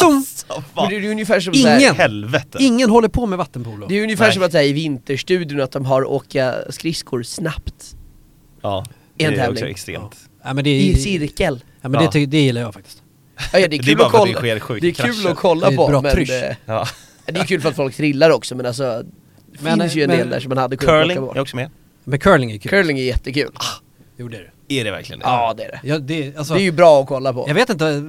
zoom!
Alltså,
Men
vad
det
i
är ju ungefär som
Ingen!
såhär,
helvete?
Ingen håller på med vattenpolo.
det är ju ungefär
Nej.
som att säga i Vinterstudion att de har åka skridskor snabbt
Ja, det
En
är också
tävling.
extremt.
Ja, men det,
i
är-
cirkel.
ja, men det,
Ja.
ty- det gillar jag faktiskt.
Ja, ja, det är
Det är
kul
bara
att
för att det
kolla,
sker sjuka
det är kul
krascher.
att kolla
Det är ett
på
bra
men
trysch.
eh,
Ja.
det är kul för att folk trillar också men alltså det
Men,
finns ju en
men-
del där som man hade kunnat
Curling Ah,
plocka
är
bort.
också med.
Men curling är kul.
Curling är jättekul.
Jo det är det.
Är det verkligen det?
Ja det är det.
Ja, det, alltså,
Det är ju bra att kolla på.
Jag vet inte,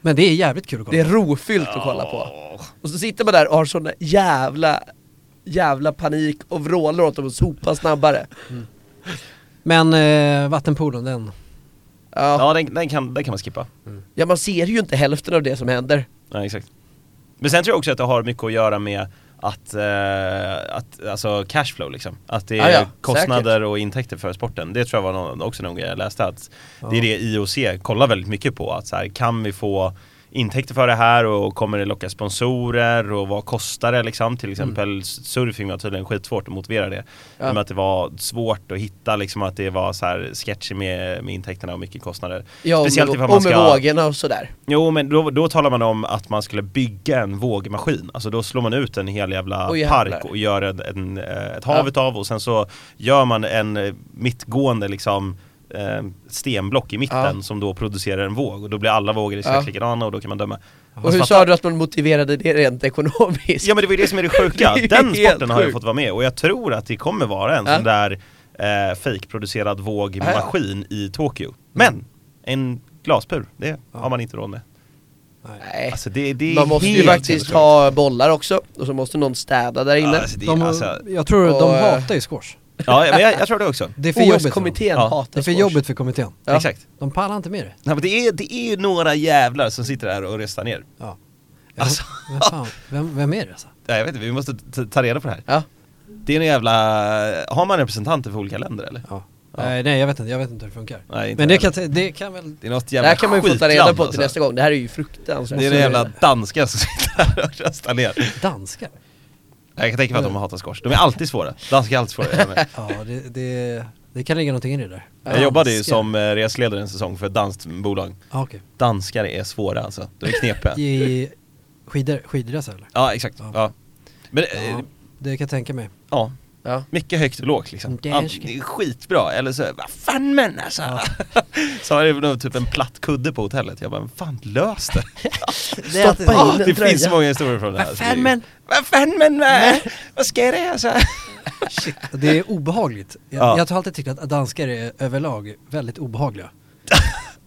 men det är jävligt kul att kolla
Det är
på.
rofyllt att kolla på. Och så sitter man där och har sån jävla, jävla panik och vrålar åt dem att sopa snabbare.
Men eh, vattenpolon, den.
Ja.
Ja, den, den, kan, den kan man skippa.
ja, man ser ju inte hälften av det som händer.
Ja, exakt. Men sen tror jag också att det har mycket att göra med att, eh, att alltså cashflow liksom. Att det är
Ah, Ja, ja,
kostnader och intäkter för sporten. Det tror jag var någon, också någon grej jag läste att det är det IOC kollar väldigt mycket på. Att så här, kan vi få intäkter för det här och kommer det locka sponsorer och vad kostar det liksom? Till exempel surfing var tydligen skitsvårt att motivera det.
Mm. Ja.
Men att det var svårt att hitta liksom att det var så här sketchy med, med intäkterna och mycket kostnader.
Ja, och
Speciellt
med,
ifall
och
man
med
ska-
vågorna och sådär.
Jo men då, då talar man om att man skulle bygga en vågmaskin, alltså då slår man ut en hel jävla
Åh, jävlar.
park och gör en, en, eh, ett
Ja.
hav utav och sen så gör man en eh, mittgående liksom eh, stenblock i mitten
Ja.
som då producerar en våg och då blir alla vågor exakt
Ja.
likadana och då kan man döma.
Och hur sa du att man motiverade det rent ekonomiskt?
Ja men det var ju det som är det sjuka,
[LAUGHS] Det är
den
helt
sporten har ju
sjukt.
fått vara med och jag tror att det kommer vara en
Ja.
sån där eh, fejkproducerad vågmaskin i Tokyo. Men, en glasbur, det
Ja.
har man inte råd med.
Nej.
Nej.
Alltså det, det är
Man måste ju
helt
faktiskt
sinnessjukt.
ha bollar också, och så måste någon städa där inne.
Alltså, det,
De,
alltså,
jag tror
Och,
de
eh,
hatar ju squash.
ja, men jag, jag tror det också.
Det är för jobbigt för dem.
OS-kommittén
Ja,
hatar
Det är för
squash.
jobbigt för kommittén.
Ja.
Exakt.
De pallar inte med det.
Nej, men det, är, det är ju några jävlar som sitter här och röstar ner.
Ja.
Alltså.
Vem, fan, vem, vem är det alltså?
Nej, jag vet inte, vi måste t- ta reda på det här.
Ja.
Det är en jävla... Har man representanter för olika länder eller?
Ja.
Ja.
Nej, nej jag vet inte, jag vet inte hur det funkar.
Nej, inte
Men det
jag
kan, det kan väl...
Det är något
Det
jävla
här kan man ju få ta reda
skitland,
på till
alltså.
nästa gång, det här är ju fruktansvärt.
Det är en jävla danska som [LAUGHS] sitter här och röstar ner.
Danskar?
Jag kan tänka mig att de hatar squash. De är alltid svåra. Danskar är alltid svåra. Jag,
[LAUGHS]
med.
Ja, det, det, det kan ligga någonting i det där.
jag jobbade ju
Danskar.
som eh, reseledare en säsong för ett danskt bolag.
Ja, okej.
Danskar är svåra alltså. De är
[LAUGHS]
knepiga.
I skidor, skidresa eller?
Ja, exakt.
Ja.
Ja. Men, eh,
Ja, det kan jag tänka mig.
ja.
Ja.
Mycket högt och lågt liksom.
Det är
Ant-
skit.
Det är skitbra, eller så, vad fan men alltså.
Ja.
[LAUGHS] Så har det nog typ en platt kudde på hotellet, jag bara, "Men fan lös
[LAUGHS]
det.
Stoppa in
Ah,
en
det
tröja.
finns så många historier från det här.
Vad
så det är ju-
fan men,
vad fan men, vad, vad ska jag det alltså?
shit. Det är obehagligt. Jag,
Ja.
jag har alltid tyckt att danskar är överlag
[LAUGHS]
väldigt obehagliga.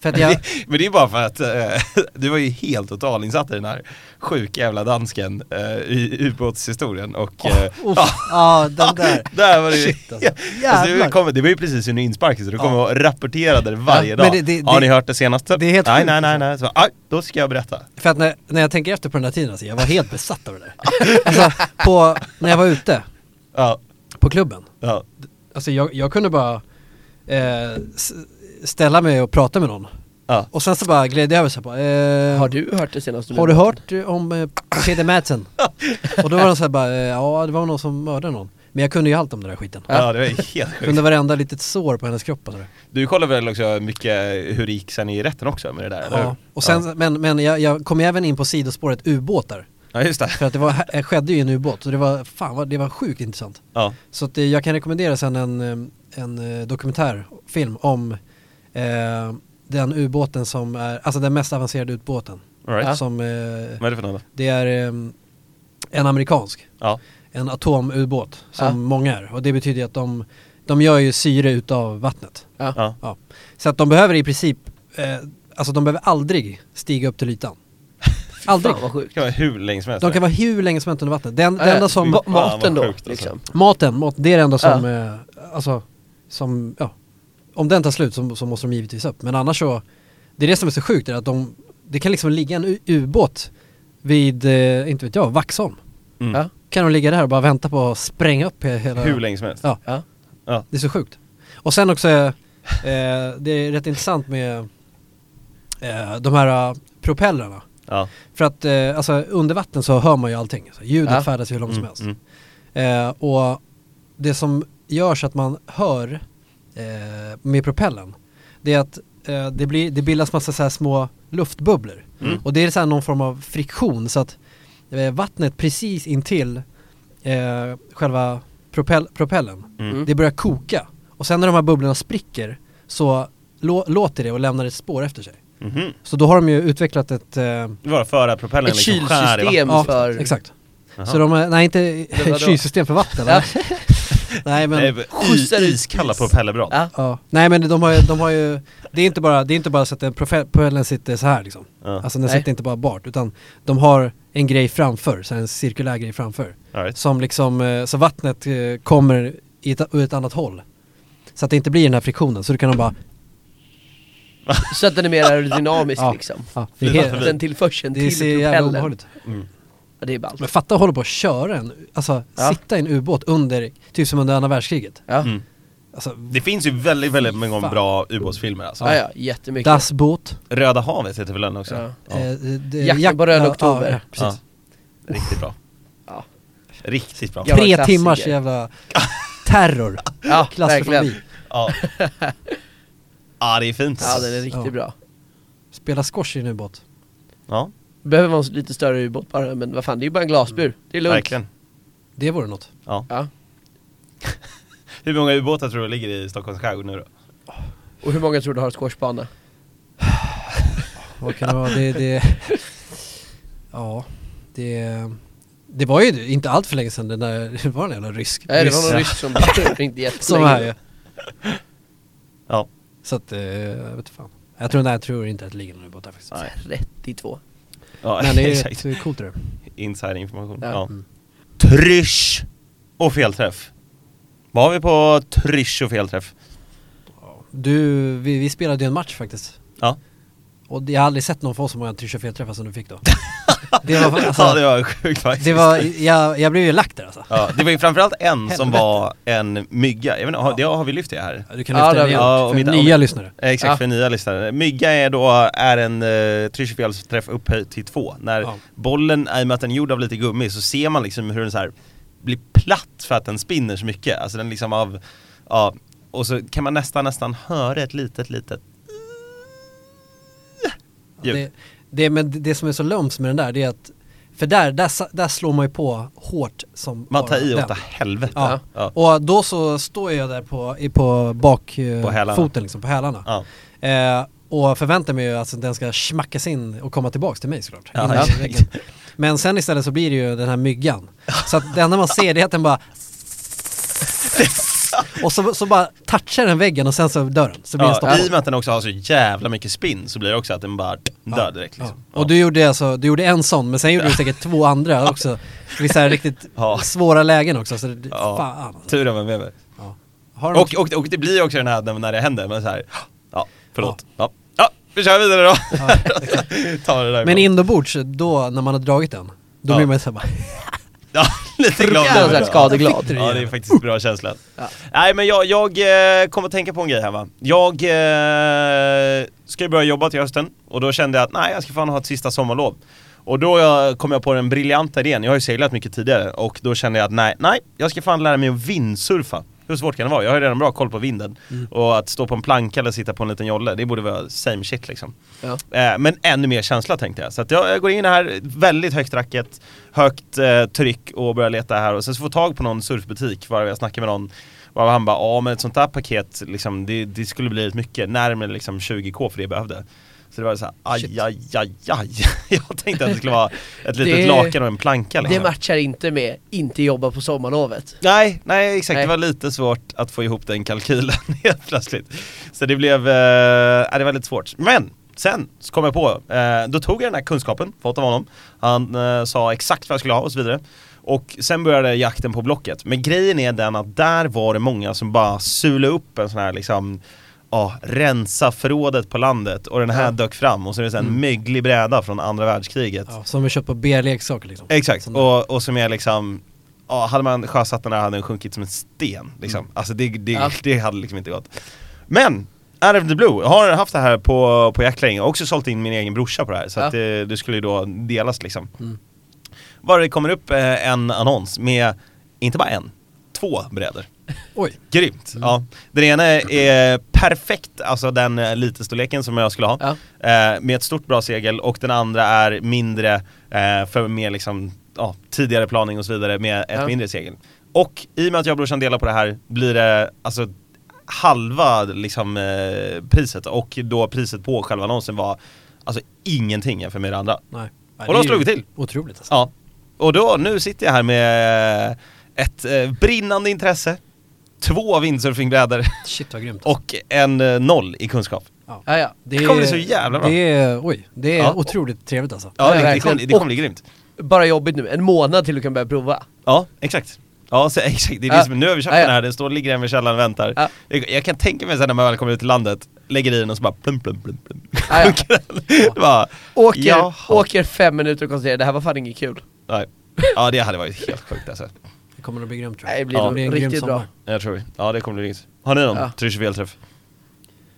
För att jag,
Det, [LAUGHS] men det är bara för att eh, [LAUGHS] du var ju helt totalinsatt i den här sjuka jävla dansken eh, i ubåtshistorien och eh,
uff, ja den där.
där var det ju...
Shit, alltså.
Alltså, det,
Jävlar.
kommer, det var ju precis under insparken så du kommer
Ja.
att rapportera det varje
Ja,
dag.
men det- det-
har
det-
ni hört det senaste?
det är helt
nej,
sjukt, alltså.
nej, nej, nej. Så, aj, då ska jag berätta.
För att när, när jag tänker efter på den där tiden alltså, jag var helt besatt av det där. Alltså, på, när jag var ute
Ja,
på klubben.
ja.
Alltså jag, jag kunde bara eh, s- ställa mig och prata med någon.
Ja.
Och sen så bara gled jag över så här bara, eh,
Har du hört det senaste?
Har du hört eh, om eh, Peter Madsen? och då var de så här bara, eh, ja det var någon som mördade någon. Men jag kunde ju allt om den där skiten.
ja, det var ju helt sjukt.
Kunde varenda litet sår på hennes kropp och sådär.
Du kollar väl också mycket hur det gick sen i rätten också med det där? eller hur?
Ja. Och sen, men, men jag, jag kom ju även in på sidospåret ubåtar.
Ja, just det.
För att det var, det skedde ju i en ubåt och det var, fan vad, det var sjukt intressant.
Ja.
Så att eh, jag kan rekommendera sen en, eh, en eh, dokumentärfilm om eh, den ubåten som är, alltså den mest avancerade ubåten.
All right.
Som, eh,
Vad är det för något då?
det är eh, en amerikansk,
Ja.
en atomubåt som
Ja.
många är. Och det betyder ju att de, de gör ju syre utav vattnet.
Ja.
ja.
Ja. Så att de behöver i princip, eh, alltså de behöver aldrig stiga upp
[LAUGHS]
till ytan. Aldrig.
Fan vad
Det
sjukt.
kan vara hur länge som helst.
De kan vara hur länge som helst under vattnet. Den,
Ja,
det enda
ja.
som...
Ma-
Fan, vad
maten då,
sjukt alltså.
liksom.
Maten, mat, det är det enda som, eh, alltså, som, ja. Om den tar slut så, så måste de givetvis upp. Men annars så, det är det som är så sjukt, är att de, det kan liksom ligga en u- ubåt vid, eh, inte vet jag, Vaxholm.
Mm.
Ja.
Kan de ligga där och bara vänta på att spränga upp he- hela...
Hur länge som helst.
Ja,
Ja.
det är så sjukt. Och sen också, eh, det är rätt intressant med eh, de här eh, propellrarna.
Ja.
För att eh, alltså, under vatten så hör man ju allting. Så ljudet
Ja.
färdas ju hur långt som
Mm,
helst.
mm.
Eh, och det som görs att man hör eh, med propellen, det är att eh, det, blir, det bildas massa så här små luftbubblor.
Mm.
Och det är så här någon form av friktion så att eh, vattnet precis intill eh, själva propell, propellen,
Mm.
det börjar koka. Och sen när de här bubblorna spricker så lå- låter det och lämnar ett spår efter sig.
Mhm.
Så då har de ju utvecklat ett... Eh,
Det var för att propellen
Ett
liksom skär i vattnet.
kylsystem för...
exakt.
Jaha.
Så de, har- nej inte
var då.
ett kylsystem för vatten.
Ja.
nej men...
Nej, i-
Skjutsar ut
Iskalla
is.
propellerblad.
Ja.
Ja, nej men de har ju, de har ju det, är inte bara, det är inte bara så att den profe- propellen sitter så här liksom.
Ja.
Alltså den
Nej.
sitter inte bara bart utan de har en grej framför, så här en cirkulär grej framför.
All right.
Som liksom, eh, så vattnet eh, kommer i ett, ur ett annat håll. Så att det inte blir den här friktionen, så du kan de bara,
Så att den är mer aerodynamisk
Ja.
liksom.
ja, det
Flyta
är,
förbi.
helt-
Den tillförseln
det är
till
så jävla
propellen.
obehagligt.
Mm.
Ja, det är ballt.
Men fatta att hålla på att köra en, alltså
Ja.
sitta i en ubåt under, typ som under andra världskriget.
Ja.
Mm.
Alltså,
Det finns ju väldigt, väldigt många
Fan.
bra ubåtsfilmer alltså.
ja, ja, jättemycket.
Das Boot,
Röda havet heter väl den också?
Ja.
Ja.
eh, det-
Jakten på Röda Oktober.
Ja, precis.
Ja. Riktigt bra.
Ja.
Riktigt bra.
Ja. Jävla
Tre
klassiker.
timmars jävla terror.
Ja,
Klaustrofobi.
verkligen.
Ja. ja, det är fint.
Ja, den är riktigt
Ja.
bra.
Spela squash i en ubåt.
Ja,
Behöver vara en lite större ubåt bara, men vad fan, det är ju bara en glasbur. Det är lugnt.
verkligen.
Det vore något.
Ja.
Ja.
Hur många ubåtar tror du ligger i Stockholms skärgård nu då?
Och hur många tror du har squashbana?
Vad kan det vara? Det, det, ja, det, det var ju inte allt för länge sedan den där, det var en jävla rysk.
Nej, det
ryss
var någon ryss som
[LAUGHS]
ringde
Som
jättelänge.
här ju.
Ja.
Så att, eh, jag vet fan. Jag tror, nej, jag tror inte att det ligger någon ubåt där faktiskt.
Nej.
32.
Ja,
Men det
[LAUGHS]
är
exakt.
rätt coolt det där.
Inside information. Ja.
Ja.
Mm.
Trysch! Och felträff. Vad har vi på trysch och felträff?
Du, vi, vi spelade ju en match faktiskt.
Ja.
Och jag har aldrig sett någon få så många trysch och felträffar som du fick då. Det var, alltså,
ja, det var sjukt faktiskt.
det var jag, jag blev ju lack där alltså.
Ja, det var ju framförallt en som
Helvete.
var en mygga. Jag vet inte, har, det, har vi lyft det här?
Ja, Du kan
Ja,
lyfta
det
den
har vi
gjort.
igen,
Ja, och
för
mitt- och
nya
mitt-
lyssnare.
Eh, Exakt,
Ja.
för nya lyssnare. Mygga är då är en eh, tryckefelsträff upphöjt två. När
Ja.
bollen, i och med att den är gjord av lite gummi, så ser man liksom hur den så här blir platt för att den spinner så mycket. Alltså den liksom av, ja, och så kan man nästan, nästan höra ett litet, litet Ljud.
Det, det, men det som är så lömskt med den där, det är att för där, där, sa- där slår man ju på hårt som
Man tar
bara
i
den.
åtta helvete.
Ja.
Ja.
Och då så står jag där på, i- på
På hälarna.
bakfoten, liksom, på hälarna.
Ja.
Eh, och förväntar mig ju att den ska smackas in och komma tillbaks till mig såklart.
Ja,
Innan
exakt.
väggen. Men sen istället så blir det ju den här myggan. Så att det enda man ser det är att den bara [LAUGHS] och så, så bara touchar den väggen och sen så dör den. Så blir den
Ja,
stoppad.
I och med att den också har så jävla mycket spinn så blir det också att den bara dör direkt
Ja.
liksom.
Och du gjorde alltså, du gjorde en sån men sen gjorde du säkert två andra också. Vissa här riktigt
[LAUGHS] Ja.
svåra lägen också. Så det,
Ja.
fan. alltså.
Tur att man är med mig.
Ja. Har du
Och, och, och det blir också den här när- när det händer, men så här, ja, förlåt. Ja. ja, vi kör vidare då.
Ja, exakt.
[LAUGHS] Ta det där
men inombords, då när man har dragit den, då
Ja.
blir man såhär bara,
[LAUGHS] Ja, lite glad.
Fruktansvärt
över det.
skadeglad.
Fick du det
Ja, det är
igen?
faktiskt en bra känsla.
Ja.
Nej men jag, jag eh, kom att tänka på en grej här va. Jag eh, ska ju börja jobba till hösten och då kände jag att nej jag ska fan ha ett sista sommarlov. Och då jag, kom jag på den briljanta idén, jag har ju seglat mycket tidigare och då kände jag att nej, nej jag ska fan lära mig att vindsurfa. Hur svårt kan det vara? Jag har ju redan bra koll på vinden.
Mm.
Och att stå på en planka eller sitta på en liten jolle, det borde vara same shit liksom.
Ja.
Eh, men ännu mer känsla tänkte jag. Så att jag, jag går in här, väldigt högt racket, högt eh, tryck och börjar leta här och sen så får jag tag på någon surfbutik varav jag snackar med någon och han bara, ja men ett sånt där paket liksom, det, det skulle bli rätt mycket, närmare liksom 20k för det jag behövde. Så det var såhär, aj,
Shit.
aj, aj, aj. [LAUGHS] Jag tänkte att det skulle vara ett litet
Det-
lakan och en planka
Det
liksom.
matchar inte med inte jobba på sommarlovet.
Nej, nej exakt.
Nej.
Det var lite svårt att få ihop den kalkylen [LAUGHS] helt plötsligt. Så det blev, eh, ja, det var lite svårt. Men sen så kom jag på, eh, då tog jag den här kunskapen, fått av honom. Han eh, sa exakt vad jag skulle ha och så vidare. Och sen började jakten på Blocket. Men grejen är den att där var det många som bara sulade upp en sån här liksom Ja, rensa förrådet på landet och den här
Ja. Mm.
dök fram och så är det så här en möglig bräda från andra världskriget.
ja, som vi köpt på BR-leksaker liksom.
Exakt,
Sån där.
och, och som är liksom Ja, hade man sjösatt den där hade den sjunkit som en sten liksom. Alltså det, det,
Ja.
det hade liksom inte gått Men, out of the blue, jag har haft det här på, på jäkla länge, jag har också sålt in min egen brorsa på det här så
Ja.
att det, det skulle ju då delas liksom Bara det kommer upp eh, en eh, annons med inte bara en, två brädor.
Oj.
Grymt!
Mm.
Ja. Den ena är perfekt, alltså den eh, litestorleken som jag skulle ha.
Ja.
Eh, med ett stort bra segel och den andra är mindre eh, för mer liksom, ja, tidigare planing och så vidare med ett
Ja.
mindre segel. Och i och med att jag och brorsan delar på det här blir det alltså halva liksom, eh, priset och då priset på själva annonsen var alltså ingenting jämfört med det andra.
Nej. Nej,
Och
det
de
är ju
slog till.
Otroligt alltså.
Ja, och då, nu sitter jag här med ett eh, brinnande intresse, två windsurfingbrädor
[LAUGHS]
Shit vad grymt. alltså.
och en eh, noll i kunskap.
Ja, ja.
Det
kommer bli så jävla bra.
Det är, oj, det är
Ja.
otroligt trevligt alltså.
Ja,
Ja,
det, det,
verkligen.
kommer, det kommer bli grymt.
Bara jobbigt nu, en månad till du kan börja prova.
Ja, exakt. Ja, så, [LAUGHS] exakt. Det är
Ja.
det som, nu har vi köpt
Ja, ja.
den här, den står ligger hemma i källaren och väntar.
Ja.
Jag, jag kan tänka mig sen när man väl kommer ut till landet, lägger i den och så bara plum, plum, plum, plum. [LAUGHS]
Ja, ja.
Det bara,
Åker,
Jaha.
åker fem minuter och konstaterar det här var fan inget kul.
nej. Ja, det hade varit helt sjukt alltså.
Det kommer att bli grymt tror jag.
Nej, det blir
Ja.
nog riktigt bra.
Jag tror vi. Ja, det kommer bli grymt. Har ni någon
Ja.
ja. felträff?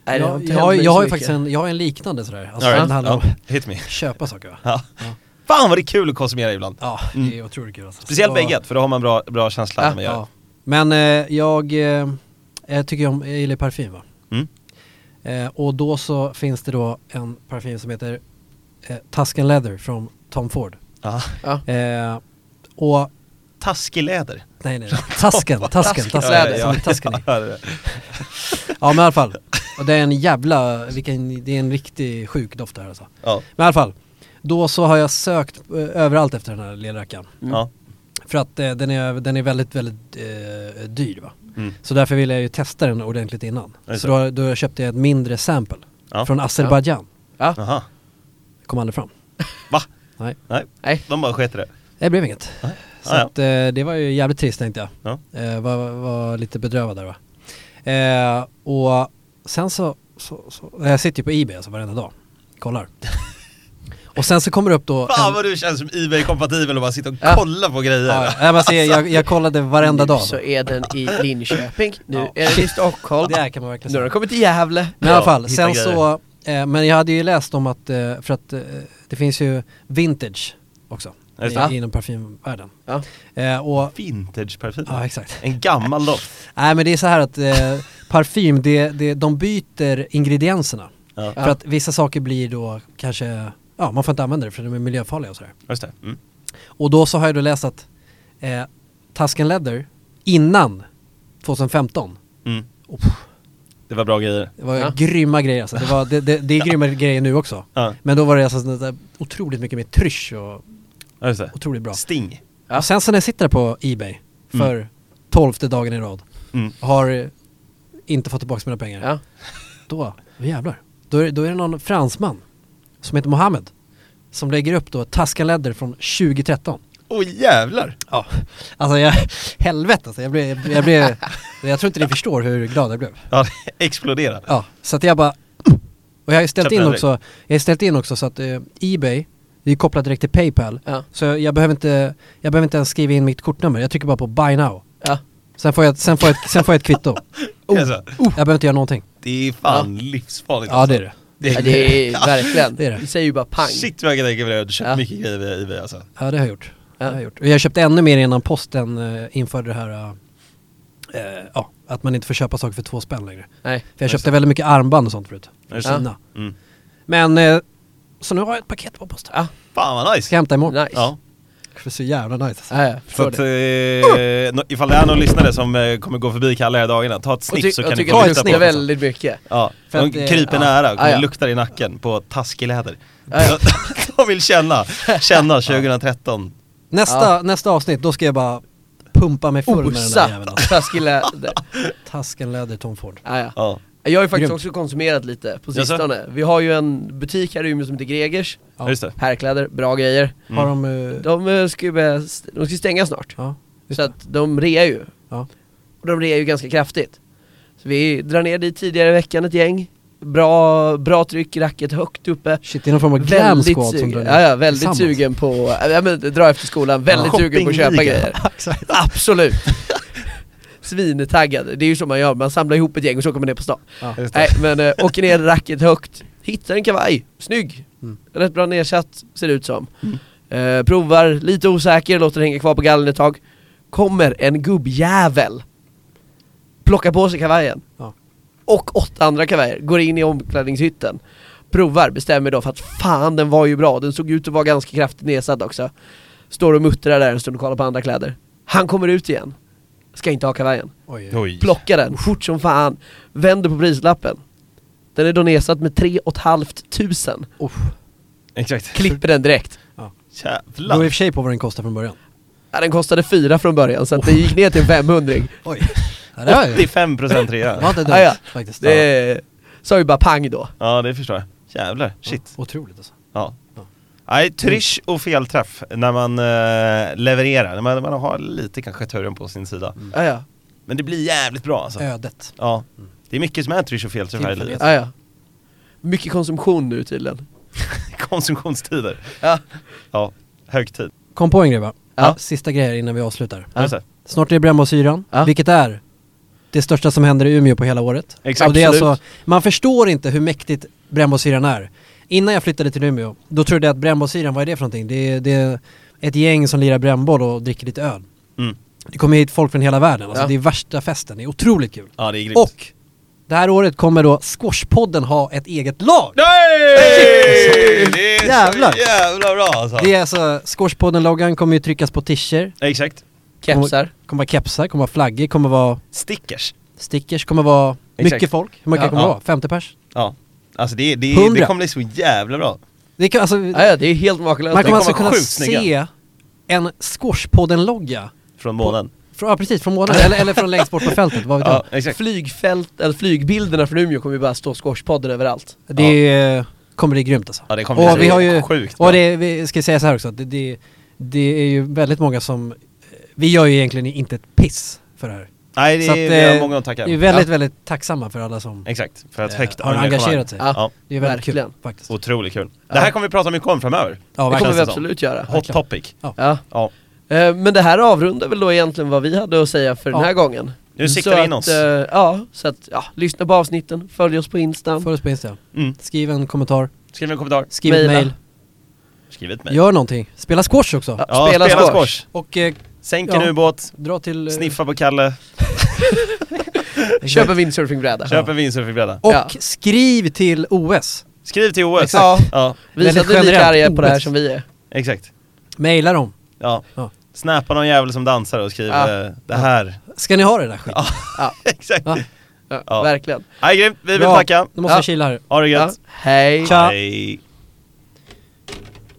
Nej, det har
jag,
inte
jag,
hänt
har-
mig
jag
så
har ju
mycket.
faktiskt en, jag har en liknande sådär. Alltså,
All
Den handlar om
Ja, hit me.
att köpa saker va?
Ja.
Ja.
Fan vad det är kul att konsumera ibland.
Ja,
Mm.
det är otroligt kul alltså.
Speciellt
Så-
bägget, för då har man bra, bra känsla
Ja,
när man gör det.
Ja. Men eh, jag, eh, jag tycker ju om, jag gillar parfym va?
Mm.
Eh, och då så finns det då en parfym som heter eh, Tuscan Leather från Tom Ford.
Ja.
Ja.
Eh, och,
Taskig läder.
nej nej, nej.
[LAUGHS]
Tuscan, Tuscan,
Tuscan
Tuscan
Leather.
som i Tuscan.
ja, ja, ja.
Ja men i alla fall. Och det är en jävla, vilken, det är en riktig sjuk doft det här alltså.
ja.
Men i alla fall. Då så har jag sökt eh, överallt efter den här lillrackaren.
ja.
För att eh, den, är, den är väldigt, väldigt eh, dyr va.
Mm.
Så därför ville jag ju testa den ordentligt innan.
Är det så?
Så då, då köpte jag ett mindre sample
Ja.
från Azerbajdzjan.
Ja.
Aha.
Kom aldrig fram.
Va?
Nej,
Nej,
Nej.
de bara sket i det.
det blev inget. Så
Ah, ja.
att, eh, det var ju jävligt trist tänkte jag.
Ja.
Eh, var, var lite bedrövad där va. Eh, och sen så, så, så, jag sitter ju på Ebay alltså varenda dag.
[LAUGHS]
Kollar. och sen så kommer det upp då...
Fan
en-
vad du känns som Ebay-kompatibel och bara sitter och
Ja.
kollar på grejer.
Ja, nej, men alltså, jag,
[LAUGHS]
jag kollade varenda
nu
dag.
så är den i Linköping, nu
Ja.
är den i Stockholm,
Det alltså. här kan man verkligen
nu har
säga.
den kommit till Gävle.
Men i alla
Ja,
fall,
hitta
sen så, eh, men jag hade ju läst om att, eh, för att eh, det finns ju vintage också
Just
i,
det.
inom parfymvärlden.
Ja.
Eh, och,
Vintage-parfym.
ja exakt.
En gammal doft.
Nej men det är så här att eh, parfym, det, det, de byter ingredienserna.
Ja,
Ja.
För att vissa saker blir då kanske, ja man får inte använda det för de är miljöfarliga och sådär.
just det. Mm.
Och då så har jag då läst att eh, Tuscan Leather innan 2015
Mm.
Oh.
Det var bra grejer.
det var
Ja.
grymma grejer alltså. Det, var, det, det, det är grymma grejer nu också.
Ja,
Men då var det alltså sånt där otroligt mycket mer trysch och
ja, just det.
otroligt bra.
Sting.
Ja. Mm.
Och sen så när jag sitter på Ebay för tolfte dagen i rad
Mm.
och har eh, inte fått tillbaka mina pengar.
Ja.
Då, då jävlar. Då är, då är det någon fransman som heter Mohammed som lägger upp då Tuscan Leather från 2013.
Åh jävlar!
Ja. Alltså jag, [LAUGHS] helvete alltså, jag blev, jag blev, jag tror inte ni förstår hur glad jag blev.
Ja, det exploderade.
Ja, så att jag bara, och jag har ju ställt
Köpte
in
den
också, jag har ju ställt in också så att eh, Ebay, det är kopplat direkt till Paypal.
Ja.
Så jag behöver inte, jag behöver inte ens skriva in mitt kortnummer, jag trycker bara på buy now.
Ja.
Sen får jag, sen får jag, sen får jag ett [LAUGHS] kvitto. Oh,
Alltså,
jag behöver inte göra någonting.
det är fan livsfarligt.
Ja det är det.
[LAUGHS]
Ja, det är verkligen,
Det
det,
är det.
säger ju bara pang.
Shit vad jag kan tänka mig det. Du köpt
Ja.
mycket grejer via Ebay alltså.
Ja det har jag gjort. Det
Ja.
har jag gjort. Och jag köpte ännu mer innan posten eh, införde det här, eh, eh, ja, att man inte får köpa saker för två spänn längre.
Nej.
För jag köpte väldigt mycket armband och sånt förut. Från
Just det.
Kina.
Mm.
Men, eh, så nu har jag ett paket på posten.
Ja,
Fan vad nice!
Ska jag hämta imorgon.
nice.
Ja.
För så jävla nice alltså.
Ja, jag
Så
förstår
att,
det.
eh, nå- ifall det är någon lyssnare som eh, kommer gå förbi Kalle här dagarna, ta ett
Och,
sniff
ty-
så
och
kan ni
tycker
få
att
ta
det
ett
lukta
luktar
på det.
väldigt mycket.
Ja,
För
de
att det-
kryper
ja.
nära och
Ja, ja.
luktar i nacken på taskig läder.
Ja, ja.
[LAUGHS] de vill känna, känna 2013.
Nästa,
Ja.
nästa avsnitt, då ska jag bara pumpa mig full med den där
Osa,
jäveln. alltså.
taskig
[LAUGHS]
läder.
Tasken läder Tom Ford.
Ja, ja.
Ja.
Jag har ju faktiskt
Grymt.
också konsumerat lite på
Jaså?
sistone. Vi har ju en butik här i Umeå som heter Gregers,
ja, just det.
herrkläder, bra grejer.
Har de... eh,
De eh, ska ju börja st- de ska ju stänga snart,
ja.
så att de rear ju.
Ja.
Och de rear ju ganska kraftigt. Så vi drar ner dit tidigare i veckan ett gäng, bra, bra tryck, racket högt uppe.
Shit, det är någon form av glam squad som drar
sugen,
ner
ja, ja, väldigt
tillsammans.
sugen på, ja, men dra efter skolan, väldigt sugen på att köpa
Shoppingliga.
[LAUGHS]
grejer.
[LAUGHS]
Absolut! [LAUGHS] Svintaggad, det är ju så man gör, man samlar ihop ett gäng och så kommer man ner på stan.
Ja.
Just det.
Nej men
[LAUGHS]
äh, åker ner racket högt, hittar en kavaj, snygg!
Mm.
Rätt bra
Mm.
nedsatt, ser det ut som. Eh, provar, lite osäker, låter det hänga kvar på gallen ett tag. kommer en gubbjävel, plockar på sig kavajen,
Ja.
och åtta andra kavajer, går in i omklädningshytten, provar, bestämmer då för att fan den var ju bra, den såg ut att vara ganska kraftigt nedsatt också. Står och muttrar där en stund och kollar på andra kläder. Han kommer ut igen, ska inte ha kavajen.
Oj.
Oj.
Plockar den, fort som fan, vänder på prislappen. Den är då nedsatt med 3 500
Uff.
Exakt.
Klipper den direkt.
Det beror i och
Jävlar.
för sig på vad den kostar från början.
Ja, den kostade 4 från början så att det gick ner till en 500
[LAUGHS] Oj. Ja, det var ju...
85%
Det
rea.
var inte dumt
Ja, ja.
faktiskt. Det...
Det sa ju bara pang då.
Ja, det förstår jag. Jävlar. Shit.
Otroligt alltså.
Ja.
Ja.
Nej, trysch och felträff när man eh, levererar, när man, när man har lite kanske turen på sin sida.
Ja, ja.
Men det blir jävligt bra alltså.
Ödet.
Ja. Det är mycket som är trysch och felträff här i
Tillfälligt.
livet.
Ja, ja. Mycket konsumtion nu tydligen.
[LAUGHS] Konsumtionstider.
Ja.
Ja, högtid.
Kom på en grej va?
Ja.
Sista grej här innan vi avslutar.
Ja. så här.
Snart är det brännbollsyran,
Ja.
vilket är det största som händer i Umeå på hela året.
Exakt.
Och det är
Absolut.
alltså, man förstår inte hur mäktigt brännbollsyran är. Innan jag flyttade till Umeå, då trodde jag att brännbollsyran, vad är det för någonting? Det är, det är ett gäng som lirar brännboll och dricker lite öl.
Mm.
Det kommer hit folk från hela världen, alltså
Ja.
det är värsta festen, det är otroligt kul.
Ja, det är grymt.
Och det här året kommer då Squashpodden ha ett eget lag!
Nej! Det är så
Jävlar.
jävla bra alltså.
Det är alltså, Squashpodden-loggan kommer ju tryckas på t-shirt,
Exakt.
Kepsar.
kommer vara kepsar, kommer vara flaggor, kommer vara
Stickers.
stickers, kommer vara
Exakt.
mycket folk. Hur många
Ja.
kommer det
Ja.
vara? 50 pers?
Ja. Alltså det, det, det
Hundra.
kommer bli så jävla bra.
Det kan, alltså,
Ja, ja, det är helt
man
makalöst.
kom-
kommer
kommer
alltså
vara
kunna
sjukt snygga.
se en Squashpodden-logga.
Från månen.
Från, ja precis, från månaden, eller, eller från längst bort på fältet, vad vet jag.
Ja, exakt.
Flygfält, eller flygbilderna från Umeå kommer ju bara stå squashpodden överallt.
Det eh, kommer bli grymt alltså.
Ja, det kommer
och
bli
vi
så
har ju,
sjukt bra.
Och det, vi ska säga så här också, att det, det, det är ju väldigt många som, eh, vi gör ju egentligen inte ett piss för det här.
Nej, det
Så att,
är, vi har
eh,
många att
Vi
tacka.
är väldigt, väldigt tacksamma för alla som
Exakt, för att
eh,
högt
har
engagemang.
engagerat sig.
Ja.
Ja,
Det är väldigt
Verkligen.
kul faktiskt.
otroligt kul. Det
Ja.
här kommer vi prata mycket om framöver.
Ja,
Det kommer
Känns
vi
det som.
absolut göra.
Hot topic.
Ja.
Ja.
Eh, Men det här avrundar väl då egentligen vad vi hade att säga för
Ja.
den här gången.
Nu siktar
Så
vi in
att,
oss.
eh, Ja, så att ja, lyssna på avsnitten, följ oss på Instan.
Följ oss på Insta.
Mm.
Skriv en kommentar,
Skriv en kommentar,
skriv ett
Maila.
mail,
skriv ett mejl.
gör någonting. Spela squash också.
Ja,
Ja, spela, squash.
Och eh,
Sänk
Ja.
en ubåt,
dra till... eh,
sniffa på Kalle,
Köp en windsurfingbräda.
köp en windsurfingbräda.
Och
Ja.
skriv till OS.
Skriv till OS.
Exakt.
Ja.
Ja.
ja,
Visa att
Väldigt
ni är lika
generellt.
arga på det här
Ordet.
som vi är.
exakt.
Maila dem.
Ja.
Ja.
Snappa någon jävel som dansar och skriv
Ja.
eh, det här.
Ska ni ha det där skiten?
[LAUGHS] exakt.
Ja.
Ja,
Ja.
Verkligen.
Nej, grymt. Vi vill
Bra.
tacka.
Nu måste
Ja.
jag kila här.
Ha det
Ja.
gött.
Hej.
Tja.
Hej.